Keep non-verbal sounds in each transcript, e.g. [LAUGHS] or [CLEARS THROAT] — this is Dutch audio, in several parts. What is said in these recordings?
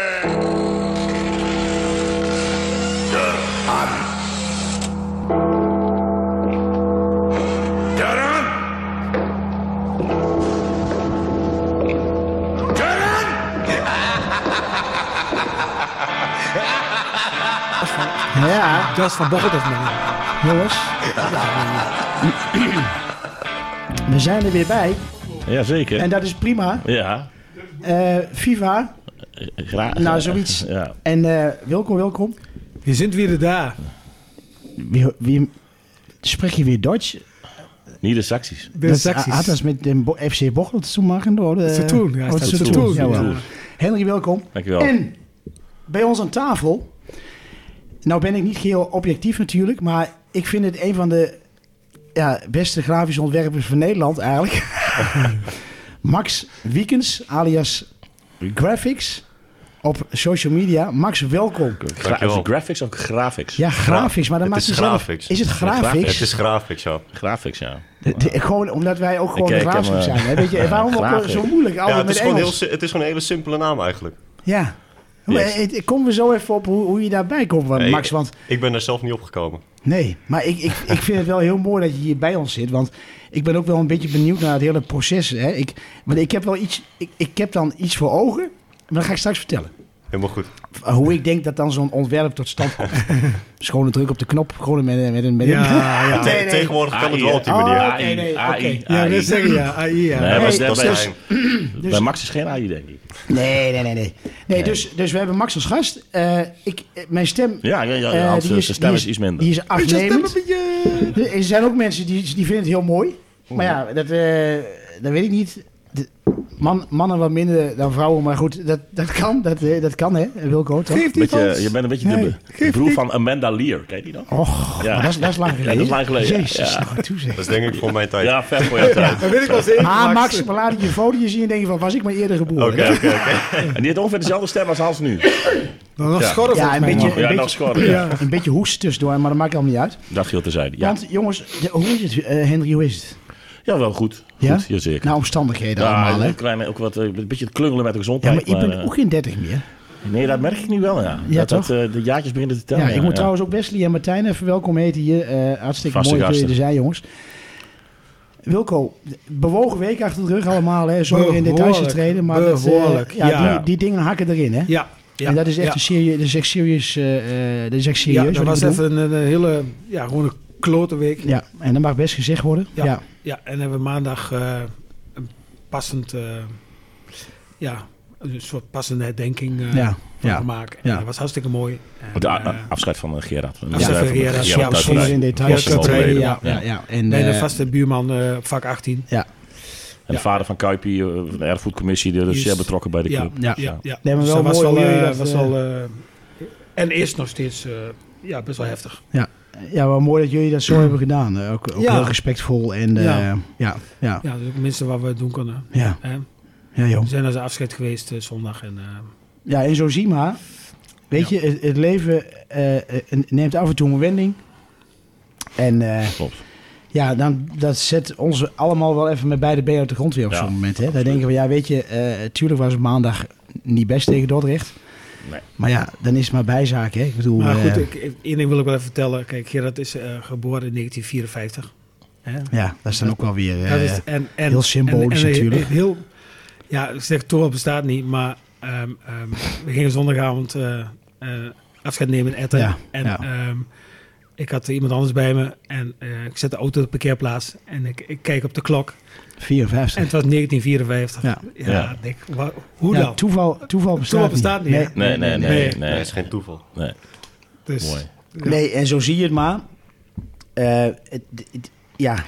Fiore! De Ham. Duran! Duran! Ja, Dat is van Bochel, dat man. jongens. We zijn er weer bij. Jazeker. En dat is prima. Ja, Eh Viva. graag. Nou, zoiets. Ja. En eh, welkom, welkom. Je zit weer daar. Wie, wie, spreek je weer Duits? Niet de Saxies. De ah, had Saxies. dat met de Bo- FC Bocholt te maken. Door de, Te doen, ja, Oh, te te doen, doen. Te doen, jawel. ja. Henry, welkom. Dankjewel. En bij ons aan tafel. Nou ben ik niet heel objectief natuurlijk, maar ik vind het een van de ja, beste grafische ontwerpers van Nederland eigenlijk. [LAUGHS] Max Wiekens, alias Graphics, op social media. Max, welkom. Gra- is het graphics of graphics? Ja, graphics, maar dat Het maakt is hij zelf- graphics. Is het graphics? Het is grafisch, ja. Graphics, ja. De- de- gewoon omdat wij ook gewoon Ik een kijk hem, graafschap eh, zijn. Hè? Weet je, ja, waarom ook grafisch. zo moeilijk? ja Altijd het, met is gewoon heel, Engels. si- het is gewoon een hele simpele naam eigenlijk. Ja. Yes. Maar, eh, ik kom er zo even op hoe, hoe je daarbij komt, want, Nee, Max. ik- Want Ik ben daar zelf niet op gekomen. nee, maar ik, ik, ik vind het wel heel mooi dat je hier bij ons zit. Want ik ben ook wel een beetje benieuwd naar het hele proces. Hè? Ik, want ik heb wel iets, ik, ik heb dan iets voor ogen. Maar dat ga ik straks vertellen. Helemaal goed. Hoe ik denk dat dan zo'n ontwerp tot stand komt. Dus gewoon een druk op de knop. Gewoon met een... Met een, met een [LAUGHS] Ja, ja. Nee, Te- nee. Tegenwoordig kan het AI, wel op die hè? manier. [LAUGHS] Oh, AI, nee, nee, AI, oké. Ja, AI. dat zeg je, ja. AI, ja. Nee, Nee, maar dat dat is bij, geheim. bij Max is geen AI, denk ik. Nee, nee, nee. nee. nee, Dus, dus we hebben Max als gast. Eh, ik, eh, mijn stem... Ja, ja, ja, eh, Hans, die zijn stem die is iets minder. Die is Weet je, stem afnemend. een beetje- Er er zijn ook mensen die, die vinden het heel mooi. Maar ja, dat, eh, dat weet ik niet. De- man, mannen wat minder dan vrouwen. Maar goed, dat, dat kan. Dat, eh, dat kan, hè, Wilco, toch? Geeft die Beetje, kans. je bent een beetje Nee, de be- geeft broer die- van Amanda Lear. Ken je die nog? Och, Ja. maar dat, is, dat is lang geleden. dat is lang geleden, Jezus, ja. nou, toe zeg. Dat is denk ik voor mijn tijd. Ja, ver voor je tijd. Dat weet ik wel zeker. Ah, Max, maar laat ik je foto zien en denk je van, was ik maar eerder geboren? Oké, oké, oké. En die heeft ongeveer dezelfde stem als Hans nu. Dan nog Ja. schorren Ja, volgens een mij, beetje, man. Ja, een nog beetje, schorren. Ja. een beetje hoest tussendoor, maar dat maakt allemaal niet uit. Dat viel te zijn. Ja. Want jongens, de- hoe is het, eh, Henry, hoe is het? ja, wel goed. Ja? Nou, Goed, jazeker. Naar omstandigheden ja, allemaal, hè? een klein, ook wat, eh, een beetje het klungelen met de Ja, maar gezondheid. ik ben eh, ook geen 30 meer. nee, dat merk ik nu wel, ja. Ja, dat dat, toch? eh, de jaartjes beginnen te Ja, tellen. ik moet trouwens ook Wesley en Martijn even welkom heten hier. Eh, hartstikke Vaste mooi dat jullie er gasten. zijn, jongens. Wilco, bewogen week achter de rug allemaal, hè? Zonder in details Behoorlijk, getreden, maar dat, eh, behoorlijk, ja, ja. Die, die dingen hakken erin, hè? Ja. ja. en dat is echt Ja. een serieus, dat is echt serieus, eh, eh, dat is echt serieus. Ja, wat dat ik was bedoel. even een, een hele... Ja, gewoon een klote week. Ja, en dat mag best gezegd worden. Ja, Ja. Ja, en hebben we maandag eh, een passend... eh, ja, een soort passende herdenking eh, ja. van ja. gemaakt. En Ja. Dat was hartstikke mooi. En, De a- eh, afscheid van eh, Gerard. afscheid van Gerard, ja, thuis zonder Zonder blij. in details Ja, te dat treden. wel. Ja, Ja. ja, ja. En, nee, de eh, vaste buurman, eh, vak 18. ja. En de vader van Kuipie, eh, van de erfgoedcommissie, die is Juist. zeer betrokken bij de Ja, club. ja. ja, ja. Nee, maar Dus wel dat was mooi wel, hoe jullie eh, dat, was eh, wel, eh, en is nog steeds eh, ja, best wel heftig. Ja, wel mooi dat jullie dat [CLEARS THROAT] zo hebben gedaan. Eh, Ook, ook Ja. heel respectvol en eh, ja. Ja. Ja, ja, Ja, dat is ook het minste wat we doen kunnen. ja, Hè? joh. We zijn naar zijn afscheid geweest eh, zondag. En, eh, Ja, en zo zie maar. Weet je, het, het leven eh, eh, neemt af en toe een wending. En eh, Klopt. ja, dan, dat zet ons allemaal wel even met beide benen op de grond weer op Ja, zo'n moment. Hè? Dan denken we, ja, weet je, eh, tuurlijk was het maandag niet best tegen Dordrecht. Nee. Maar ja, dan is het maar bijzaak, hè? Ik bedoel, maar goed, eh, ik, ik- één ding wil ik wel even vertellen. Kijk, Gerard is eh, geboren in 1954. Hè? ja, dat is dan ook wel weer... Dat eh, is, en, en, heel symbolisch en- en- natuurlijk. Heel, ja, ik zeg Torel bestaat niet, maar ehm, ehm, we gingen zondagavond eh, eh, afscheid nemen in Etten. Ja, en ja. ehm, ik had iemand anders bij me en eh, ik zet de auto op de parkeerplaats en ik, ik kijk op de klok. En 54. het was 1954. Ja. ja, Ja. ik denk, wa- hoe Ja, dan? toeval, toeval bestaat Toeval bestaat niet, hè? Nee, nee, nee. nee, Nee. Nee, het is geen toeval. nee. Dus, Mooi. Ja. Nee, en zo zie je het maar. Eh, het, het- ja,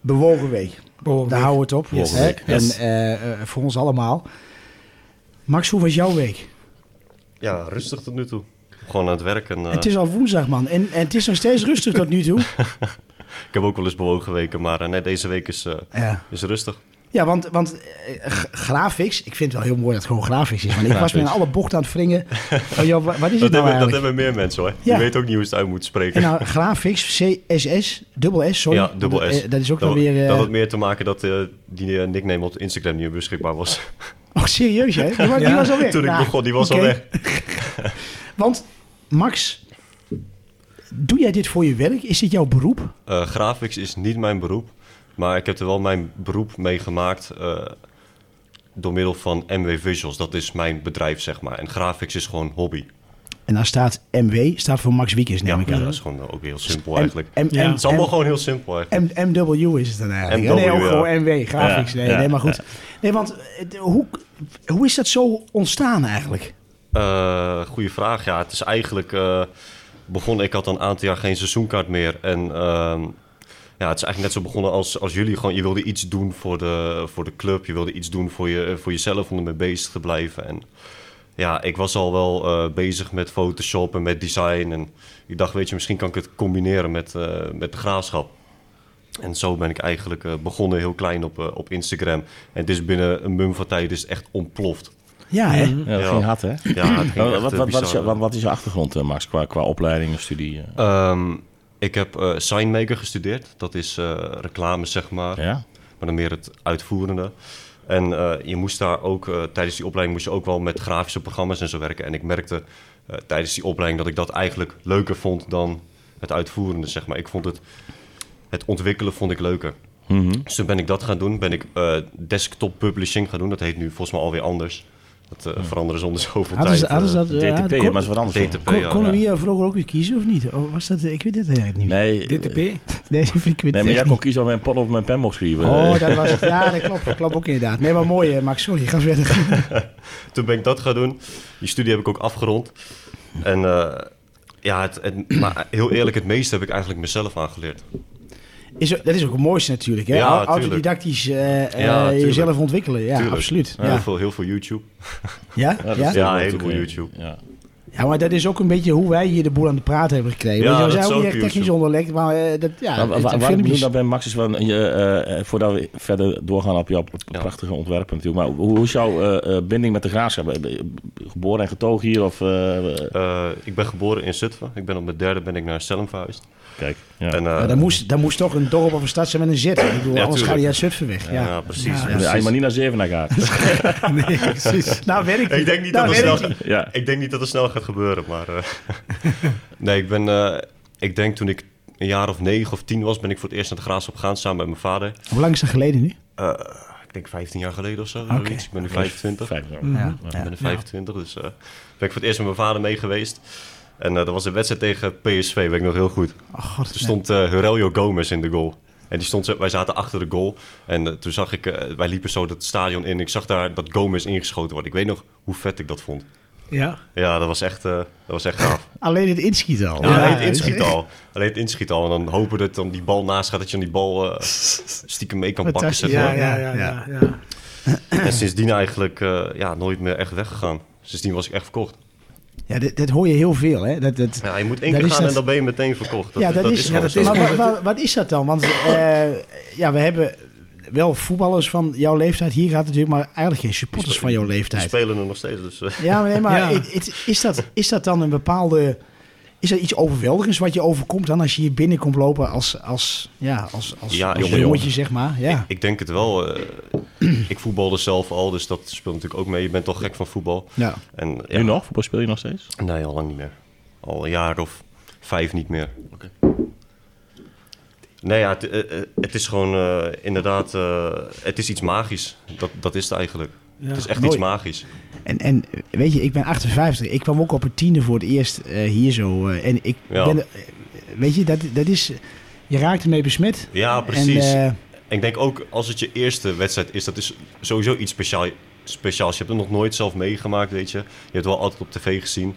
bewogen week. behoorlijk. Daar houden we het op. Yes. Hè? Bewogen week, yes. En eh, eh, voor ons allemaal. Max, hoe was jouw week? Eh. Ja, rustig tot nu toe. Gewoon aan het werk. En, eh, Het is al woensdag, man. En, en het is nog steeds rustig tot nu [LAUGHS] toe. Ik heb ook wel eens bewogen weken, maar eh, nee, deze week is, eh, Ja, is rustig. ja want, want eh, g- graphics, ik vind het wel heel mooi dat het gewoon graphics is. Want ik was me in alle bochten aan het [LAUGHS] wringen. Van, joh, wa- wat is het nou Dat, hebben, dat eigenlijk? hebben meer mensen hoor. Ja. Je weet ook niet hoe je het uit moet En spreken. nou, graphics, CSS, dubbel S, sorry. ja, dubbel S. Eh, Dat is ook dat, wel weer... eh, dat had meer te maken dat eh, die eh, nickname op Instagram niet meer beschikbaar was. Oh, serieus, hè? Die was, die Ja, was al weg. Toen ik Nou, begon, die was al oké. weg. [LAUGHS] Want, Max, doe jij dit voor je werk? Is dit jouw beroep? Eh, graphics is niet mijn beroep, maar ik heb er wel mijn beroep mee gemaakt eh, door middel van MW Visuals. Dat is mijn bedrijf, zeg maar. En graphics is gewoon hobby. En daar staat MW, staat voor Max Wiekes, Ja, neem ik ja, aan. dat is gewoon eh, ook heel simpel M- eigenlijk. M- Ja. M- Het is allemaal M- gewoon heel simpel eigenlijk. M- MW is het dan eigenlijk. MW, nee, ook ja. gewoon MW, grafisch. Ja, nee, ja, nee, maar goed. Nee, want eh, hoe, hoe is dat zo ontstaan eigenlijk? Eh goeie vraag. Ja, het is eigenlijk eh, begonnen. Ik had een aantal jaar geen seizoenkaart meer. En ehm, ja, het is eigenlijk net zo begonnen als, als jullie. Gewoon, je wilde iets doen voor de, voor de club. Je wilde iets doen voor, je, voor jezelf om ermee bezig te blijven. En ja, ik was al wel eh, bezig met Photoshop en met design. En ik dacht, weet je, misschien kan ik het combineren met, eh, met de graafschap. En zo ben ik eigenlijk eh, begonnen heel klein op, eh, op Instagram. En het is binnen een mum van tijd is het echt ontploft. Ja, hè? Ja, dat Ja. ging hard, hè? [CLEARS THROAT] Ja, het ging Nou, echt, wat, eh, wat, wat, is bizar. je, wat, wat is je achtergrond, eh, Max, qua, qua opleiding en studie? eh? Ehm, ik heb eh signmaker gestudeerd. Dat is eh, reclame, zeg maar. ja? Maar dan meer het uitvoerende. En eh, je moest daar ook, eh, tijdens die opleiding moest je ook wel met grafische programma's en zo werken. En ik merkte eh, tijdens die opleiding dat ik dat eigenlijk leuker vond dan het uitvoerende, zeg maar. Ik vond het, het ontwikkelen vond ik leuker. Mhm. Dus toen ben ik dat gaan doen. Ben ik eh, desktop publishing gaan doen. Dat heet nu volgens mij alweer anders. Dat eh, veranderen ze om de zoveel Hadden ze, tijd. hadden ze eh, dat... ja, DTP, kon- maar is wat anders. DTP, volgens kon- ja, konden ja. we hier vroeger ook weer kiezen of niet? Oh, was dat, ik weet het eigenlijk niet. mij. Nee, DTP? Nee, [LAUGHS] ik weet nee, het echt maar jij niet. kon kiezen of mijn pot of mijn pen mocht eh, schrijven. Oh, [LAUGHS] dat was het. Ja, dat klopt. Dat klopt ook inderdaad. Nee, maar mooi, hè, Max. Sorry, ga verder. [LAUGHS] toen ben ik dat gaan doen. Die studie heb ik ook afgerond. En eh, ja, het, het- maar heel eerlijk, het meeste heb ik eigenlijk mezelf aangeleerd. Is, ook- dat is ook het mooiste natuurlijk, hè? Ja, Au- tuurlijk. Autodidactisch eh, eh, Ja, tuurlijk. jezelf ontwikkelen. Ja, Tuurlijk. absoluut. Heel, Ja. veel, heel veel YouTube. Ja? dat Ja? is wel Ja, natuurlijk heleboel een- YouTube. Ja. Ja, maar dat is ook een beetje hoe wij hier de boel aan de praat hebben gekregen. Ja, Ja, we dat zijn is ook ook niet echt technisch YouTube. onderlegd, maar eh, dat, ja, Waar, waar, het- waar het ik filmpjes- bedoel dat bij Max is wel, een- je, eh, eh, voordat we verder doorgaan op jouw p- prachtige ontwerpen natuurlijk. Maar hoe hoe is jouw eh, eh, binding met de graafschap? Ben je Geboren en getogen hier of... eh, eh, Eh, ik ben geboren in Zutphen. Ik ben op mijn derde ben ik naar Selm verhuisd. kijk, ja. En, eh, Ja, daar, moest, daar moest toch een dorp of een stad zijn met een Z. Ik bedoel, Ja, anders tuurlijk. ga je uit Zutphen weg. Ja. ja, precies. Ja, precies. je mag niet naar Zevenaar [LAUGHS] gaan. [LAUGHS] Nee, precies. Nou, werkt Ik denk niet Nou, dat het werkt snel... ja. Ik denk niet dat het snel gaat gebeuren, maar... [LAUGHS] eh, nee, ik ben... eh, ik denk toen ik een jaar of negen of tien was... ben ik voor het eerst naar de Graafschap gegaan samen met mijn vader. Hoe lang is dat geleden nu? Eh, ik denk 15 jaar geleden of zo. zoiets. Ik ben nu 25. Vijf jaar. Ja. Ik ben er 25, dus eh, ben ik voor het eerst met mijn vader mee geweest. En eh, dat was een wedstrijd tegen PSV, weet ik nog heel goed. Oh, god. Toen stond eh Aurelio Gomez in de goal. En die stond, zo- wij zaten achter de goal. En eh, toen zag ik, eh, wij liepen zo dat stadion in. Ik zag daar dat Gomez ingeschoten wordt. Ik weet nog hoe vet ik dat vond. Ja. Ja, dat was echt, eh, dat was echt gaaf. Alleen het inschieten al. Ja, alleen het inschiet al. Alleen het inschiet al. En dan hopen dat dan die bal naast gaat, dat je dan die bal eh, stiekem mee kan pakken. Fantastisch, zeg maar. Ja, ja, ja, ja, ja. En sindsdien eigenlijk eh, ja, nooit meer echt weggegaan. Sindsdien was ik echt verkocht. Ja, dit, dit hoor je heel veel, hè? Dat, dat, Ja, je moet één Dat keer is gaan dat- en dan ben je meteen verkocht. ja, dat, is, gewoon zo. maar wa- wa- wat, is dat dan? Want eh, ja, we hebben wel voetballers van jouw leeftijd hier gehad natuurlijk, maar eigenlijk geen supporters van jouw Die leeftijd. spelen er nog steeds. Dus, eh, Ja, maar, nee, maar Ja. het- het- is, dat, is dat dan een bepaalde... Is dat iets overweldigends wat je overkomt dan als je hier binnen komt lopen als, als, ja, als, als, Ja, als jongen, jongetje, zeg maar? Ja. Ik denk het wel. eh, [CLEARS THROAT] ik voetbalde zelf al, dus dat speelt natuurlijk ook mee. Je bent toch gek van voetbal. Ja. En, ja, Nu nog? Voetbal speel je nog steeds? Nee, al lang niet meer. Al een jaar of vijf niet meer. Oké. Nee, ja, het, eh, eh, het is gewoon eh, inderdaad... eh, het is iets magisch. Dat, dat is het eigenlijk. Ja. Het is echt Mooi. iets magisch. En, en weet je, ik ben 58. Ik kwam ook op het tiende voor het eerst eh, hier zo. eh, en ik Ja. ben... eh, weet je, dat, dat is... Je raakt ermee besmet. Ja, precies. En, eh, Ik denk ook als het je eerste wedstrijd is, dat is sowieso iets speciaal, speciaals. Je hebt het nog nooit zelf meegemaakt, weet je. Je hebt het wel altijd op tv gezien.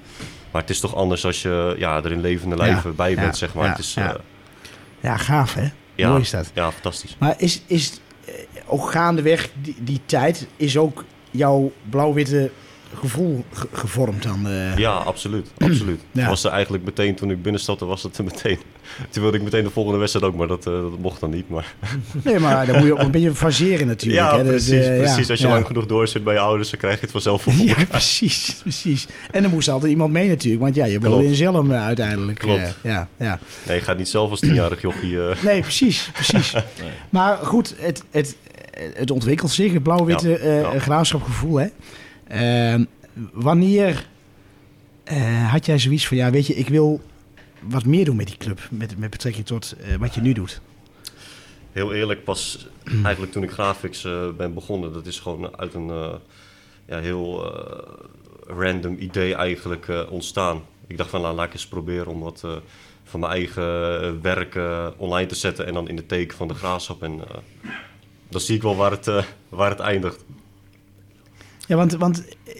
Maar het is toch anders als je ja, er in levende lijven bij ja, bent, zeg maar. ja, het is, ja. eh, ja, gaaf hè? ja, Mooi is dat. Ja, fantastisch. Maar is, is eh, ook gaandeweg die, die tijd, is ook jouw blauw-witte gevoel ge- gevormd dan. eh. Ja, absoluut. absoluut. [CLEARS THROAT] Ja. Was er eigenlijk meteen, toen ik binnenstapte, was het er meteen. [LAUGHS] Toen wilde ik meteen de volgende wedstrijd ook, maar dat, eh, dat mocht dan niet. Maar... Nee, maar dan moet je ook een beetje faseren natuurlijk. Ja, hè. Dat, precies. eh, ja, precies. Als je ja. lang genoeg doorzit bij je ouders, dan krijg je het vanzelf [LAUGHS] voor Ja, [LAUGHS] elkaar. precies, precies. En er moest altijd iemand mee natuurlijk, want ja, je woonde Klopt. in Zelm eh, uiteindelijk. Klopt. eh, ja, ja. Nee, je gaat niet zelf als tienjarig jochie... eh, Nee, precies, precies. Maar goed, het, het, het ontwikkelt zich, het blauw-witte Ja, eh, ja. graafschapgevoel. Hè? Ehm, wanneer eh, had jij zoiets van, ja, weet je, ik wil wat meer doen met die club, met, met betrekking tot eh, wat je nu doet? heel eerlijk, pas [CLEARS THROAT] eigenlijk toen ik graphics eh, ben begonnen, dat is gewoon uit een eh, ja, heel eh, random idee eigenlijk eh, ontstaan. Ik dacht van nou, laat ik eens proberen om wat eh, van mijn eigen eh, werk eh, online te zetten en dan in de teken van de graafschap. En eh, dan zie ik wel waar het, eh, waar het eindigt. Ja, want, want eh,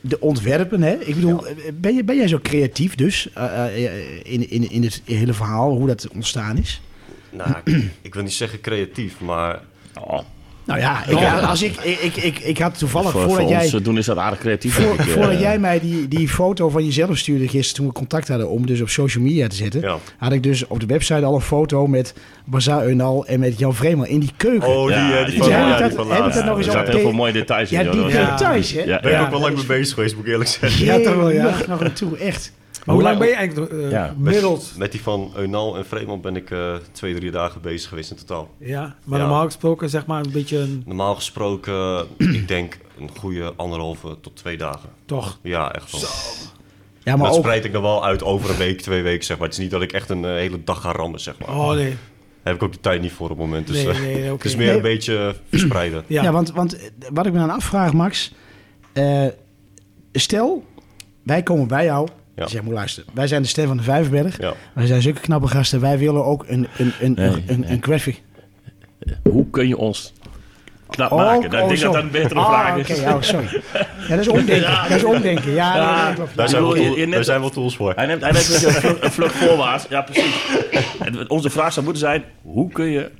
de ontwerpen, hè? Ik bedoel, eh, ben, je, ben jij zo creatief dus eh, eh, in, in, in het hele verhaal, hoe dat ontstaan is? [CLEARS THROAT] Nou, ik, ik wil niet zeggen creatief, maar Oh, Nou ja, ik, als ik, ik, ik, ik, ik had toevallig voor, voordat voor jij... ons eh, doen is dat aardig creatief. Voor- denk ik, eh. voordat jij mij die, die foto van jezelf stuurde gisteren toen we contact hadden om dus op social media te zetten, Ja. had ik dus op de website al een foto met Bazaar Eunal en met Jan Vreemel in die keuken. oh, die, Ja, eh, die, die- van, ja, ja, dat- die van heb ik laatst. dat nog er eens zaten over- heel veel mooie details in. ja, die joh. details, hè? Ja, Daar ben ik Ja. ook wel lang mee bezig geweest, moet ik eerlijk zeggen. Ja, toch wel, ja. Jemig, nog naartoe, echt. Maar hoe lang ben je eigenlijk eh, Ja. gemiddeld? Met die van Eunal en Vreeman ben ik eh, twee, drie dagen bezig geweest in totaal. Ja, maar Ja. normaal gesproken zeg maar een beetje een, Normaal gesproken, [CLEARS THROAT] eh, ik denk een goede anderhalve tot twee dagen. toch. Ja, echt wel. Ja, maar Dat ook, spreid ik dan wel uit over een week, twee weken, zeg maar. Het is niet dat ik echt een eh, hele dag ga rammen, zeg maar. Oh nee. Daar heb ik ook de tijd niet voor op het moment. Dus, Nee, eh, nee, nee, Het is oké. meer Nee. een beetje eh, verspreiden. Ja, Ja, want, want eh, wat ik me dan afvraag, Max. eh, stel, wij komen bij jou. Ja. Dus jij moet luisteren. Wij zijn de Stem van de Vijverberg. Ja. Wij zijn zulke knappe gasten. Wij willen ook een, een, een, Nee, een, een, een graphic. Hoe kun je ons knap Oh, maken? Dat oh, ik denk zo. dat dat een betere Ah, vraag is. Oké, ja, sorry. Ja, [LAUGHS] dat is omdenken. Dat is omdenken. Ja, Ja. nee, nee, klopt. Daar, Ik zijn wel, bedoel, je- tool- je net- daar zijn wel tools voor. [LAUGHS] Hij neemt, hij neemt een vlucht- een vlucht voorwaarts. Ja, precies. En Onze vraag zou moeten zijn, hoe kun je...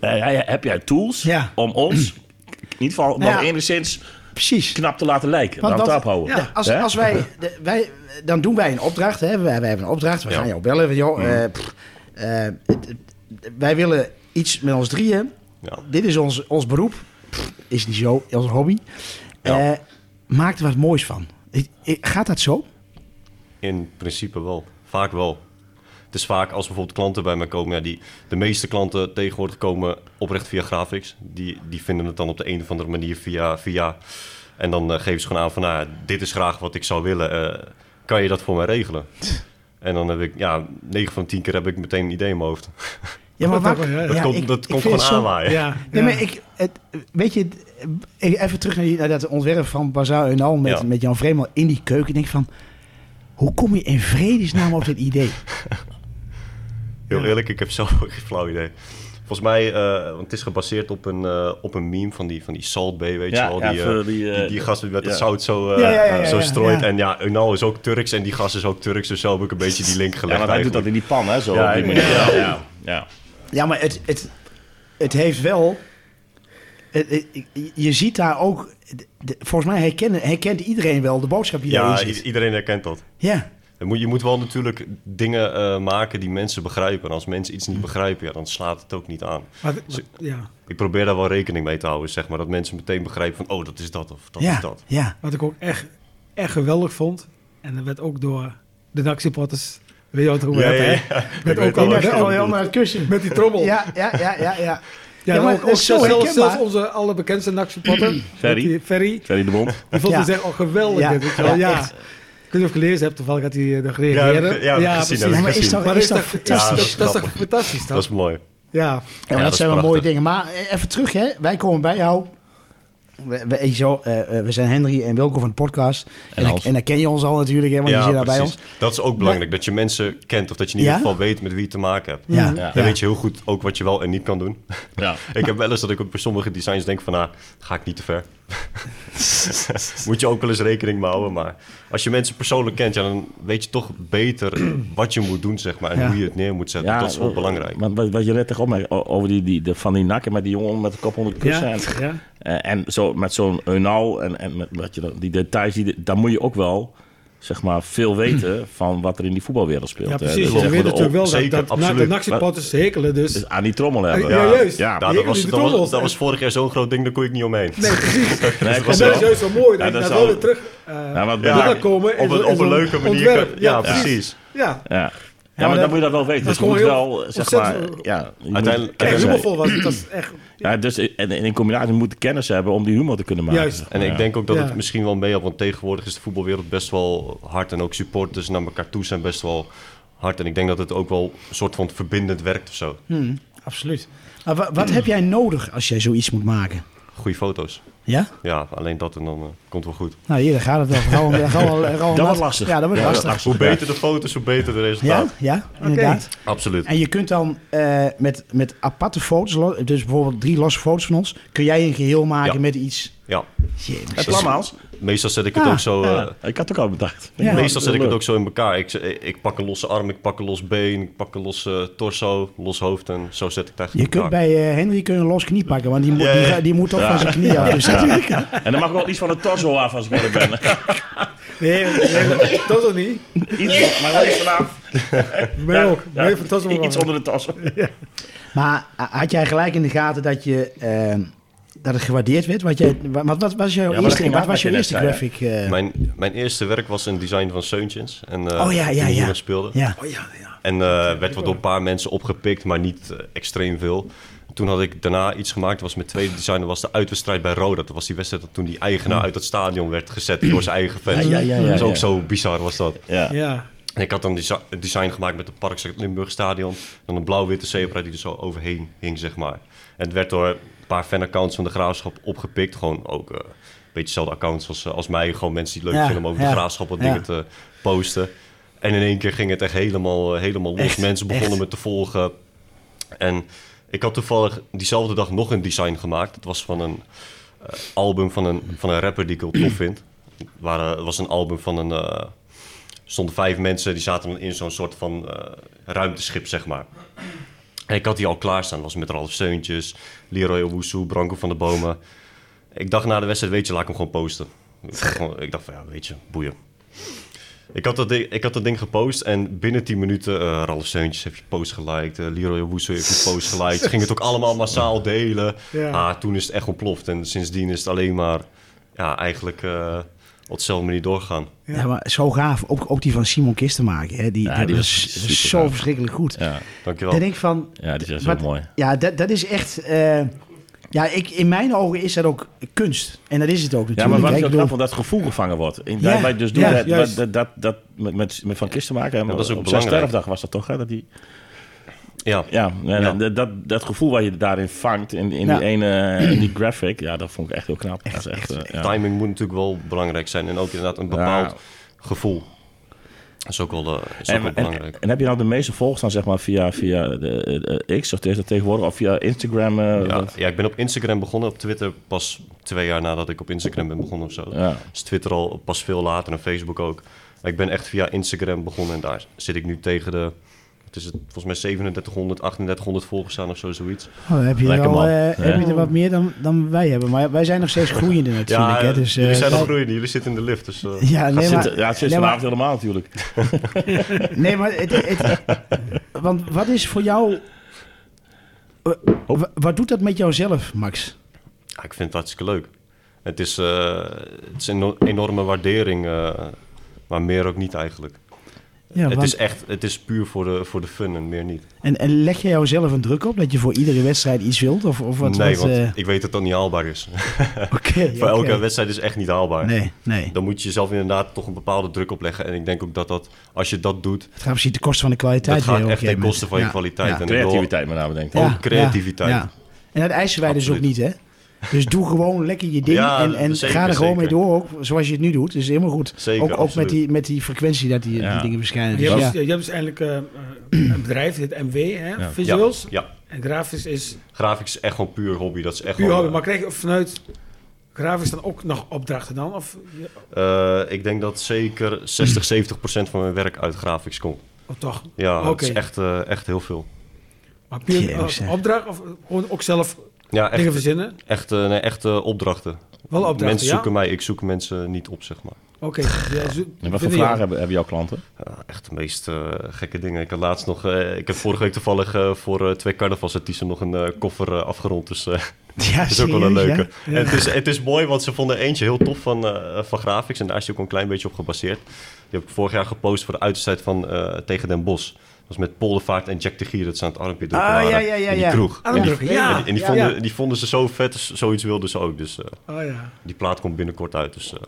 eh, eh, Heb jij tools Ja. om ons... In ieder geval Nou nog ja. enigszins Precies. knap te laten lijken. Want aan dat- tap houden. ja, als, Hè? als wij, de- wij, dan doen wij een opdracht. Hè? Wij, wij hebben een opdracht. We Ja. gaan jou bellen. van, Mhm. Joh, eh, pff, eh, het- het- wij willen iets met ons drieën. Ja. Dit is ons, ons beroep. Pff, is niet zo, als een hobby. Eh, maak er wat moois van. Ik- ik- Gaat dat zo? In principe wel. Vaak wel. Het is vaak als bijvoorbeeld klanten bij mij komen. Ja, die, de meeste klanten tegenwoordig komen oprecht via graphics. Die, die vinden het dan op de een of andere manier via. via en dan eh, geven ze gewoon aan van, nou, ja, dit is graag wat ik zou willen. Eh, kan je dat voor mij [LAUGHS] regelen? En dan heb ik, ja, 9 van 10 keer heb ik meteen een idee in mijn hoofd. Ja, Dat waar- ook wel, ja. Dat ja, komt, ik- dat ik vind komt gewoon het zo- aanwaaien. Ja, Nee, ja. maar ik, het, weet je, eh, even terug naar, die- naar dat ontwerp van Bazaar en al met, Ja. met Jan Vreemel in die keuken. Ik denk van, hoe kom je in vredesnaam op dit idee? Heel eerlijk, ik heb [LAUGHS] zelf ook geen flauw idee. Volgens mij, eh, want het is gebaseerd op een, eh, op een meme van die, van die Salt Bay, weet Ja, je wel. ja, Die, eh, voor die, die, eh, die, gast die met het ja. zout zo, eh, Ja, ja, ja, ja, zo ja, strooit. ja. En ja, Unal is ook Turks en die gast is ook Turks. Dus zo heb ik een beetje die link [LAUGHS] Ja, gelegd want hij doet dat eigenlijk. in die pan, hè? Zo Ja, op die ja, manier. ja. Ja, ja. ja. Ja, maar het, het, het heeft wel... het- het- je ziet daar ook... de- de- volgens mij herkennen, herkent iedereen wel de boodschap die daarin Ja, i- zit. iedereen herkent dat. Ja, Je moet, je moet wel natuurlijk dingen eh, maken die mensen begrijpen. En als mensen iets Hm. niet begrijpen, ja, dan slaat het ook niet aan. Maar- maar- ja. Ik probeer daar wel rekening mee te houden, zeg maar. Dat mensen meteen begrijpen van, oh, dat is dat of dat is ja, dat. ja. Wat ik ook echt, echt geweldig vond. En dat werd ook door de NAC-supporters... Weet je wat ik over heb, hè? Ik Werd weet ook wel al wat je echt- bedoelt. Oh, naar het kussen. Met die trommel. Ja, ja, ja, ja, ja. Ja, Ja, maar maar het ook, is ook zo zelfs, herkenbaar. zelfs onze allerbekendste NAC-supporter... Ferry. die Ferry. Zijn die de mond? Die vond Ja. het echt al geweldig. Ja, dit, weet je wel. ja, Ja, echt. Ik weet niet of je gelezen hebt, toevallig had hij eh, nog Ja, heb gereageerd. ik- ja, heb ik gezien, heb ik Ja, maar is gezien. dat, Maar is is dat toch Ja, dat fantastisch? is dat is toch grappig. fantastisch, Dat is toch? mooi. Ja. Ja, maar Ja, dat, dat zijn is wel mooie prachtig. dingen. Maar eh, even terug, hè. Wij komen bij jou. We, we, eh, zo, eh, eh, we zijn Henry en Wilco van de podcast. En, dan, Hans. en dan ken je ons al natuurlijk, hè, want je zit daar bij ons. Dat is ook belangrijk, dat je mensen kent of dat je in ieder Ja? geval weet met wie je te maken hebt. Ja. Ja. Dan weet je heel goed ook wat je wel en niet kan doen. [LAUGHS] Ja. nou, ik heb wel eens dat ik ook bij sommige designs denk van, ah, ga ik niet te ver. [LAUGHS] moet je ook wel eens rekening mee houden. Maar als je mensen persoonlijk kent, ja, dan weet je toch beter [CLEARS THROAT] wat je moet doen, zeg maar. En Ja. oh. hoe je het neer moet zetten. dat is wel eh, belangrijk. Want wat, wat je net tegen opmerkt o- oh, over die, die, de Van die nakken met die jongen met de kop onder de kussen. Ja, En, ja. eh, en zo, met zo'n Eunau en, en met, wat je, dan- die details, die, daar moet je ook wel zeg [CLEARS THROAT] maar, veel weten van wat er in die voetbalwereld speelt. Ja, hè. precies. Dus Je voor weet de natuurlijk wel zeker, dat, dat na- de absoluut. nachtsporters hekelen, dus... Dus aan die trommel hebben. Ja, juist. Ja, Nou, dat, was, die dat, was, trommels. dat was vorig jaar zo'n groot ding, daar kon ik niet omheen. Nee, precies. Nee, dat klopt en wel. dat is juist zo mooi, Ja, dat je dat daar is wel al- weer terug eh Ja, want Ja, bij- terug komen. in op een, zo'n- op een leuke manier. ontwerp. kan- ja, precies. Ja. Ja. Ja, maar dan moet je dat wel weten. Dat Dus is je moet gewoon heel wel, zeg maar... ontzettend- Ja, je moet- Uiteindelijk- Kijk, Ja. Hummelvol was het. Dat is echt... ja, dus in, en in combinatie moet je kennis hebben om die humor te kunnen maken. Juist. zeg maar, En ja. ik denk ook dat Ja. het misschien wel mee had, want tegenwoordig is de voetbalwereld best wel hard. En ook supporters naar elkaar toe zijn best wel hard. En ik denk dat het ook wel een soort van verbindend werkt of zo. Hm. Absoluut. Maar wa- wat heb jij nodig als jij zoiets moet maken? Goeie foto's. Ja? Ja, alleen dat en dan eh, komt wel goed. Nou, hier daar gaat het wel. Gewoon, gewoon, gewoon, gewoon Dat wordt lastig. Ja, dat wordt Ja, lastig. Hoe beter de foto's, hoe beter de Ja, resultaat. ja, inderdaad. Absoluut. En je kunt dan eh, met, met aparte foto's, lo- dus bijvoorbeeld drie losse foto's van ons, kun jij een geheel maken Ja. met iets. Ja. Jezus. Het plan, Hans? Meestal zet ik het Ah, ook zo... eh, Ja, ik had het ook al bedacht. Ja. Meestal zet ik het Leuk. ook zo in elkaar. Ik, eh, ik pak een losse arm, ik pak een los been, ik pak een losse eh, torso, los hoofd en zo zet ik het Je eigenlijk in kunt elkaar. bij eh, Henry kun je een los knie pakken, want die moet, Ja, die, ja. ga- die moet toch van zijn knie af. Dus natuurlijk. En dan mag ik wel iets van de torso af als ik er [LAUGHS] ben. Nee, nee, dat ook niet. Iets, maar wel iets vanaf. Mij ook. Ja, Mij fantastisch. wel Iets waar. onder de torso. Maar a- had jij gelijk in de gaten dat je eh, dat het gewaardeerd werd? Want jij, wa- wat, wat was jouw maar dat eerste, ging wat af was wat jouw je eerste net zei, graphic? eh, Mijn, mijn eerste werk was een design van Seuntjens. En, eh, oh ja, ja, die ja. hier speelde. ja. Oh ja, ja. En eh, werd wat door een paar mensen opgepikt, maar niet eh, extreem veel. Toen had ik daarna iets gemaakt, dat was mijn tweede design, dat was de uitwedstrijd bij Roda. Dat was die wedstrijd dat toen die eigenaar uit het stadion werd gezet door zijn eigen fans. Oh, Ja, ja, ja, ja, dat is ook ja. zo bizar was dat. Ja. Ja. En ik had dan desi- een design gemaakt met het Parks Limburg Stadion. Dan een blauw-witte zebra die er zo overheen hing, zeg maar. En het werd door een paar fanaccounts van de Graafschap opgepikt. Gewoon ook eh, een beetje dezelfde accounts als, eh, als mij. Gewoon mensen die het leuk Ja, vinden om over ja, de Graafschap wat ja. dingen te posten. eh, En in één keer ging het echt helemaal, eh, helemaal los. Echt, mensen begonnen echt. me te volgen. En ik had toevallig diezelfde dag nog een design gemaakt. Het was van een eh, album van een, van een rapper die ik heel tof vind. Het waren- Het was een album van een... eh, er stonden vijf mensen, die zaten dan in zo'n soort van eh, ruimteschip, zeg maar. En ik had die al klaarstaan. Dat was met Ralf Steuntjes, Leroy Owusu, Branko van der Bomen. Ik dacht na de wedstrijd, weet je, laat ik hem gewoon posten. Ik dacht, gewoon- ik dacht van, ja, weet je, boeien. Ik had, dat ding, ik had dat ding gepost en binnen 10 minuten, eh Ralf Seuntjes heeft je post geliked, eh, Leroy Woeso heeft je post geliked. Ze gingen het ook allemaal massaal delen. Ja. Ah, toen is het echt ontploft en sindsdien is het alleen maar, ja, eigenlijk eh, op dezelfde manier doorgaan. Ja. maar zo gaaf. Ook, ook die van Simon Kistenmaker. Hè? Die, Ja, dat die was, was dat was super zo gaaf. verschrikkelijk goed. Ja. Dankjewel. Dan denk ik van, ja, die is heel Wat- mooi. Ja, dat, dat is echt. eh, ja, ik, in mijn ogen is dat ook kunst. En dat is het ook natuurlijk. Ja, maar wat hè. is Ik ook bedoel- grappig dat het gevoel gevangen wordt. In, Ja, wij dus doen ja, dat, juist. dat, dat, dat, met, met, met Van Kisten maken. Ja, dat is ook op zijn belangrijk. sterfdag was dat toch? Hè? Dat die, Ja, ja, en Ja. Dat, dat, dat gevoel wat je daarin vangt in, in, Ja. die, ene, in die graphic, ja, dat vond ik echt heel knap. dat is echt, eh, ja. timing moet natuurlijk wel belangrijk zijn en ook inderdaad een bepaald Ja. gevoel. Dat is ook wel, eh, is ook En, wel en, belangrijk. en heb je nou de meeste volgers dan zeg maar via, via de, eh, X of is dat tegenwoordig of via Instagram? eh, ja, wat- ja, ik ben op Instagram begonnen, op Twitter pas twee jaar nadat ik op Instagram ben begonnen of zo. Ja. Dus Twitter al pas veel later en Facebook ook. Maar ik ben echt via Instagram begonnen en daar zit ik nu tegen de, wat is het, volgens mij 3700, 3800 volgers aan of zo, zoiets. Oh, dan heb je, Lekker er al, man. eh, Ja. heb je er wat meer dan, dan wij hebben. Maar wij zijn nog steeds groeiende natuurlijk. hè. Dus, eh, jullie zijn nog wij- groeiende, jullie zitten in de lift. Dus, eh, Ja, nee, Gaat maar, zitten- ja, het zit nee, maar- vanavond helemaal natuurlijk. nee, maar het, het, want wat is voor jou... Oh. eh, wa- wat doet dat met jouzelf, Max? Ja, ik vind het hartstikke leuk. Het is, eh, het is een eno- enorme waardering, eh, maar meer ook niet eigenlijk. Ja, het want- is echt, het is puur voor de, voor de fun en meer niet. en, en leg je jouzelf een druk op dat je voor iedere wedstrijd iets wilt? Of, of wat, nee, wat, want eh, ik weet dat dat niet haalbaar is. [LAUGHS] oké, voor elke oké. wedstrijd is echt niet haalbaar. Nee, nee. Dan moet je jezelf inderdaad toch een bepaalde druk opleggen. En ik denk ook dat, dat als je dat doet, Het gaat precies de kosten van de kwaliteit. dat gaat weer op echt een ten gegeven koste van je moment. Ja, kwaliteit. ja. En ik wil- Creativiteit met name, denk ik. Ja. ook creativiteit. En dat eisen wij dus ook Absoluut. niet, hè? Dus doe gewoon lekker je ding Ja, en, en zeker, ga er gewoon mee zeker. door, ook, zoals je het nu doet. is helemaal goed. Zeker, ook ook met, absoluut. die, met die frequentie dat die, die Ja. dingen verschijnen. Je Dus hebt, ja. dus- je hebt dus eigenlijk eh, een bedrijf, dit MW, hè, visuals. Ja, ja. En grafisch is grafisch is echt gewoon puur hobby. Dat is echt puur gewoon, hobby. eh, Maar krijg je vanuit Grafisch dan ook nog opdrachten dan? Of, Eh, ik denk dat zeker [CLEARS THROAT] 60, 70 procent van mijn werk uit graphics komt. of toch? Ja, dat Oké. is echt, eh, echt heel veel. Maar puur Jezus, als zeg. opdracht of gewoon ook zelf Ja, dingen echt, verzinnen? echt, eh, nee, echt eh, opdrachten. Wel opdrachten, Mensen ja? zoeken mij, ik zoek mensen niet op, zeg maar. Oké. ja, zo- En wat voor vind je- vragen hebben, hebben jouw klanten? Ja, echt de meest eh, gekke dingen. Ik had laatst nog, eh, ik heb vorige week toevallig eh, voor eh, twee carnavalsartiesten nog een eh, koffer eh, afgerond. Dus eh, Ja, dat is ook wel een serieus, ja? leuke. En het, is, het is mooi, want ze vonden eentje heel tof van, eh, van graphics. En daar is die ook een klein beetje op gebaseerd. Die heb ik vorig jaar gepost voor de uiterstijd van eh, Tegen Den Bos. Dat was met Poldervaart en Jack de Gier dat ze aan het armpje drukken Ah, waren ja, ja, ja, in die ja. kroeg. En die, Armpje, ja. en die, en die Ja, vonden, ja. die vonden ze zo vet, dus zoiets wilden ze ook. Dus eh, Oh ja. die plaat komt binnenkort uit. Dus eh,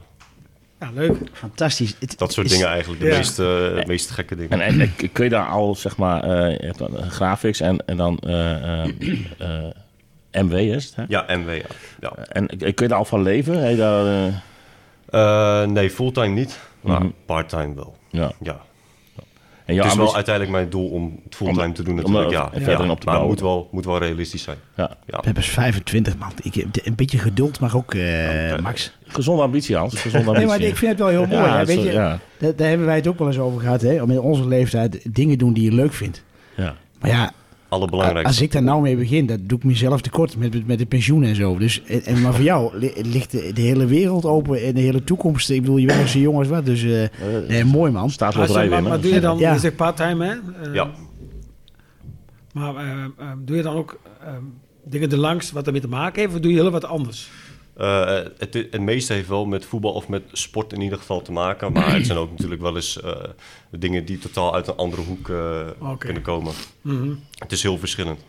Ja, leuk. Fantastisch. Het dat soort is- dingen eigenlijk, de Ja. meest, eh, de meest gekke dingen. En, en, en kun je daar al, zeg maar, eh, je hebt dan, eh, graphics en, en dan eh, eh, eh, MW is het, hè? Ja, MW, ja. ja. En eh, kun je daar al van leven? Heb je daar, eh, Eh, nee, fulltime niet, maar Mhm. parttime wel. ja. Ja. En jouw het is wel ambitie- uiteindelijk mijn doel om het fulltime Om- te doen om er natuurlijk. ja. verder in op te maar het bouwen. moet wel, moet wel realistisch zijn. ja. Ja. We hebben 25, man. Ik, heb een beetje geduld, maar ook, eh, Ja, Max. Gezonde ambitie, Hans. Gezonde Nee, ambitie. maar ik vind het wel heel mooi. eh, [LAUGHS] Ja, hè, Weet zo- je, ja. daar, daar hebben wij het ook wel eens over gehad. Hè? Om in onze leeftijd dingen doen die je leuk vindt. Ja. Maar ja, Allerbelangrijkste. als ik daar nou mee begin, dat doe ik mezelf tekort met, met de pensioen en zo. Dus, en, en maar voor jou li- ligt de, de hele wereld open en de hele toekomst. Ik bedoel, je bent nog zo jong als wat. Dus eh, nee, mooi, man. Als je- Staatsloterij maar, winnen. maar doe je dan, Ja. je zegt part-time hè? Eh, Ja. Maar eh, eh, doe je dan ook eh, dingen erlangs wat ermee te maken heeft? Of doe je heel wat anders? Eh, het, het meeste heeft wel met voetbal of met sport in ieder geval te maken. Maar het zijn ook [CLEARS THROAT] natuurlijk wel eens eh, dingen die totaal uit een andere hoek eh, Oké. kunnen komen. Mhm. Het is heel verschillend.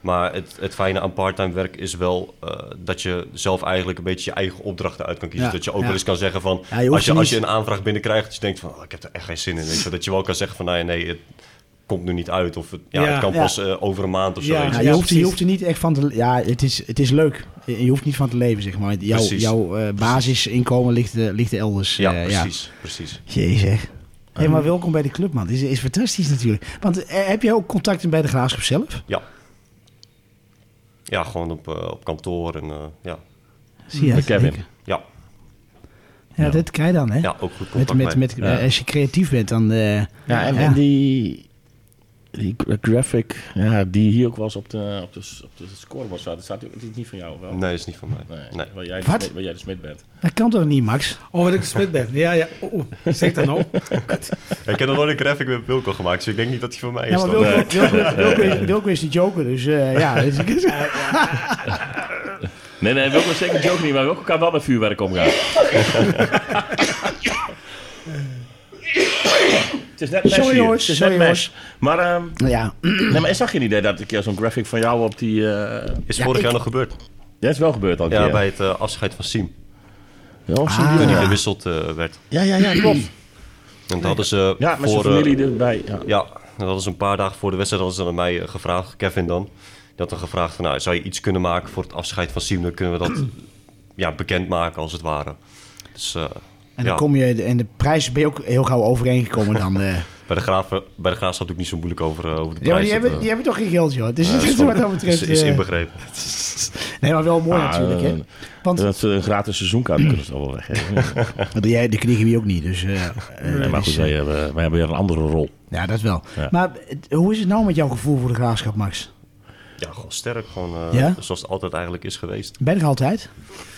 Maar het, het fijne aan parttime werk is wel eh, dat je zelf eigenlijk een beetje je eigen opdrachten uit kan kiezen. Ja, dat je ook ja. wel eens kan zeggen van, Ja, je hoeft als, je, niet- als je een aanvraag binnenkrijgt, dat je denkt van, oh, ik heb er echt geen zin in. Weet je. wel. Dat je wel kan zeggen van, nee, nee, het komt nu niet uit. Of het, ja, Ja, het kan ja. pas eh, over een maand of zo. Ja, weet je. Ja, je, ja, hoeft, je precies. hoeft er niet echt van te... Ja, het is, het is leuk. Je je hoeft niet van te leven, zeg maar. Jouw, Precies. jouw eh, basisinkomen ligt, eh, ligt elders. Ja, eh, precies, precies. Jee zeg. Hey, maar welkom bij de club, man. Het is, is fantastisch natuurlijk. Want eh, heb jij ook contacten bij de graafschap zelf? Ja. Ja, gewoon op, eh, op kantoor en eh, ja. Zie je Met dat? Kevin. Ik- Ja, Ja, Ja. dat krijg je dan, hè? ja, ook goed met, met, contact mee. met, Ja. eh, Als je creatief bent, dan... eh, Ja, en, en die, die gra- graphic ja, die hier ook was op de, op de, op de scorebord staat, dat staat die- die is niet van jou, wel? Nee, is niet van mij. Nee. nee. Waar, jij de Wat? smid- waar jij de smid bent. Dat kan toch niet, Max? Oh, wat ik gesmet ben. Ja, ja. Oh, oh. Zeg dat nou. Ik heb nog nooit een graphic met Wilco gemaakt, dus ik denk niet dat die van mij Ja, is. maar dan. Wilco, Wilco, Wilco is, Wilco is de joker, dus eh, ja. dus- Nee, nee, Wilco is zeker de joke niet, maar Wilco kan wel met vuurwerk omgaan. Het is net mes Sorry, hier. jongens. Het is Sorry, net mes. Maar, ehm, Nou ja, nee, maar is dat geen idee dat ik keer zo'n graphic van jou op die... eh Is vorig jaar nog gebeurd. dat is wel gebeurd al een Ja, keer. bij het eh, afscheid van Siem. Ja, of zie je Ah. die- Die gewisseld eh, werd. ja, ja, ja, klopt. En dat hadden ze Ja, met zijn voor... eh, familie erbij. Ja. ja, dat hadden ze een paar dagen voor de wedstrijd hadden ze aan mij eh, gevraagd, Kevin dan. Die had dan gevraagd van, nou, zou je iets kunnen maken voor het afscheid van Siem? Dan kunnen we dat [CLEARS THROAT] ja, bekendmaken als het ware. Dus eh, en dan ja, kom je... En de prijs ben je ook heel gauw overeengekomen dan... eh. bij de Graaf, bij de graaf zat ook niet zo moeilijk over, eh, over de prijs. Ja, maar die Dat, hebben, eh, die hebben toch geen geld, joh. Dus eh, het is van- wat dat is, betreft... is eh, inbegrepen. nee, maar wel mooi Ah, natuurlijk, hè. eh, Want Dat ze een gratis seizoenkaart kunnen ze al wel weggeven. Maar jij, die kregen we hier ook niet, dus... eh, eh, Nee, maar dus, goed, eh, wij hebben, wij hebben weer een andere rol. ja, dat wel. Ja. Maar eh, hoe is het nou met jouw gevoel voor de graafschap, Max? Ja, gewoon sterk. Gewoon eh, Ja? zoals het altijd eigenlijk is geweest. Ben ik altijd?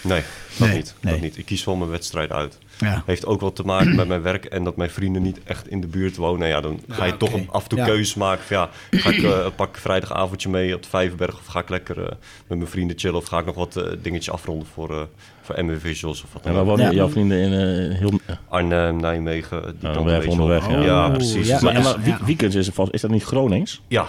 Nee, dat, Nee, niet, nee. dat niet. Ik kies wel mijn wedstrijd uit. Ja. Heeft ook wel te maken met mijn werk en dat mijn vrienden niet echt in de buurt wonen. Ja, dan ga je oké. toch een- af en toe Ja. keuzes maken. Van, ja, ga ik, eh, pak ik vrijdagavondje mee op de Vijverberg of ga ik lekker eh, met mijn vrienden chillen of ga ik nog wat eh, dingetjes afronden voor, eh voor MW Visuals of wat En dan waar ook. wonen Ja. jouw vrienden in eh, heel... eh, Arnhem, Nijmegen, die Ja, kant we een even beetje op. onderweg, ja. ja, Oeh, precies. Oh, ja. Ja. maar en ja. maar wie- weekends is, het vast- is dat niet Gronings? Ja,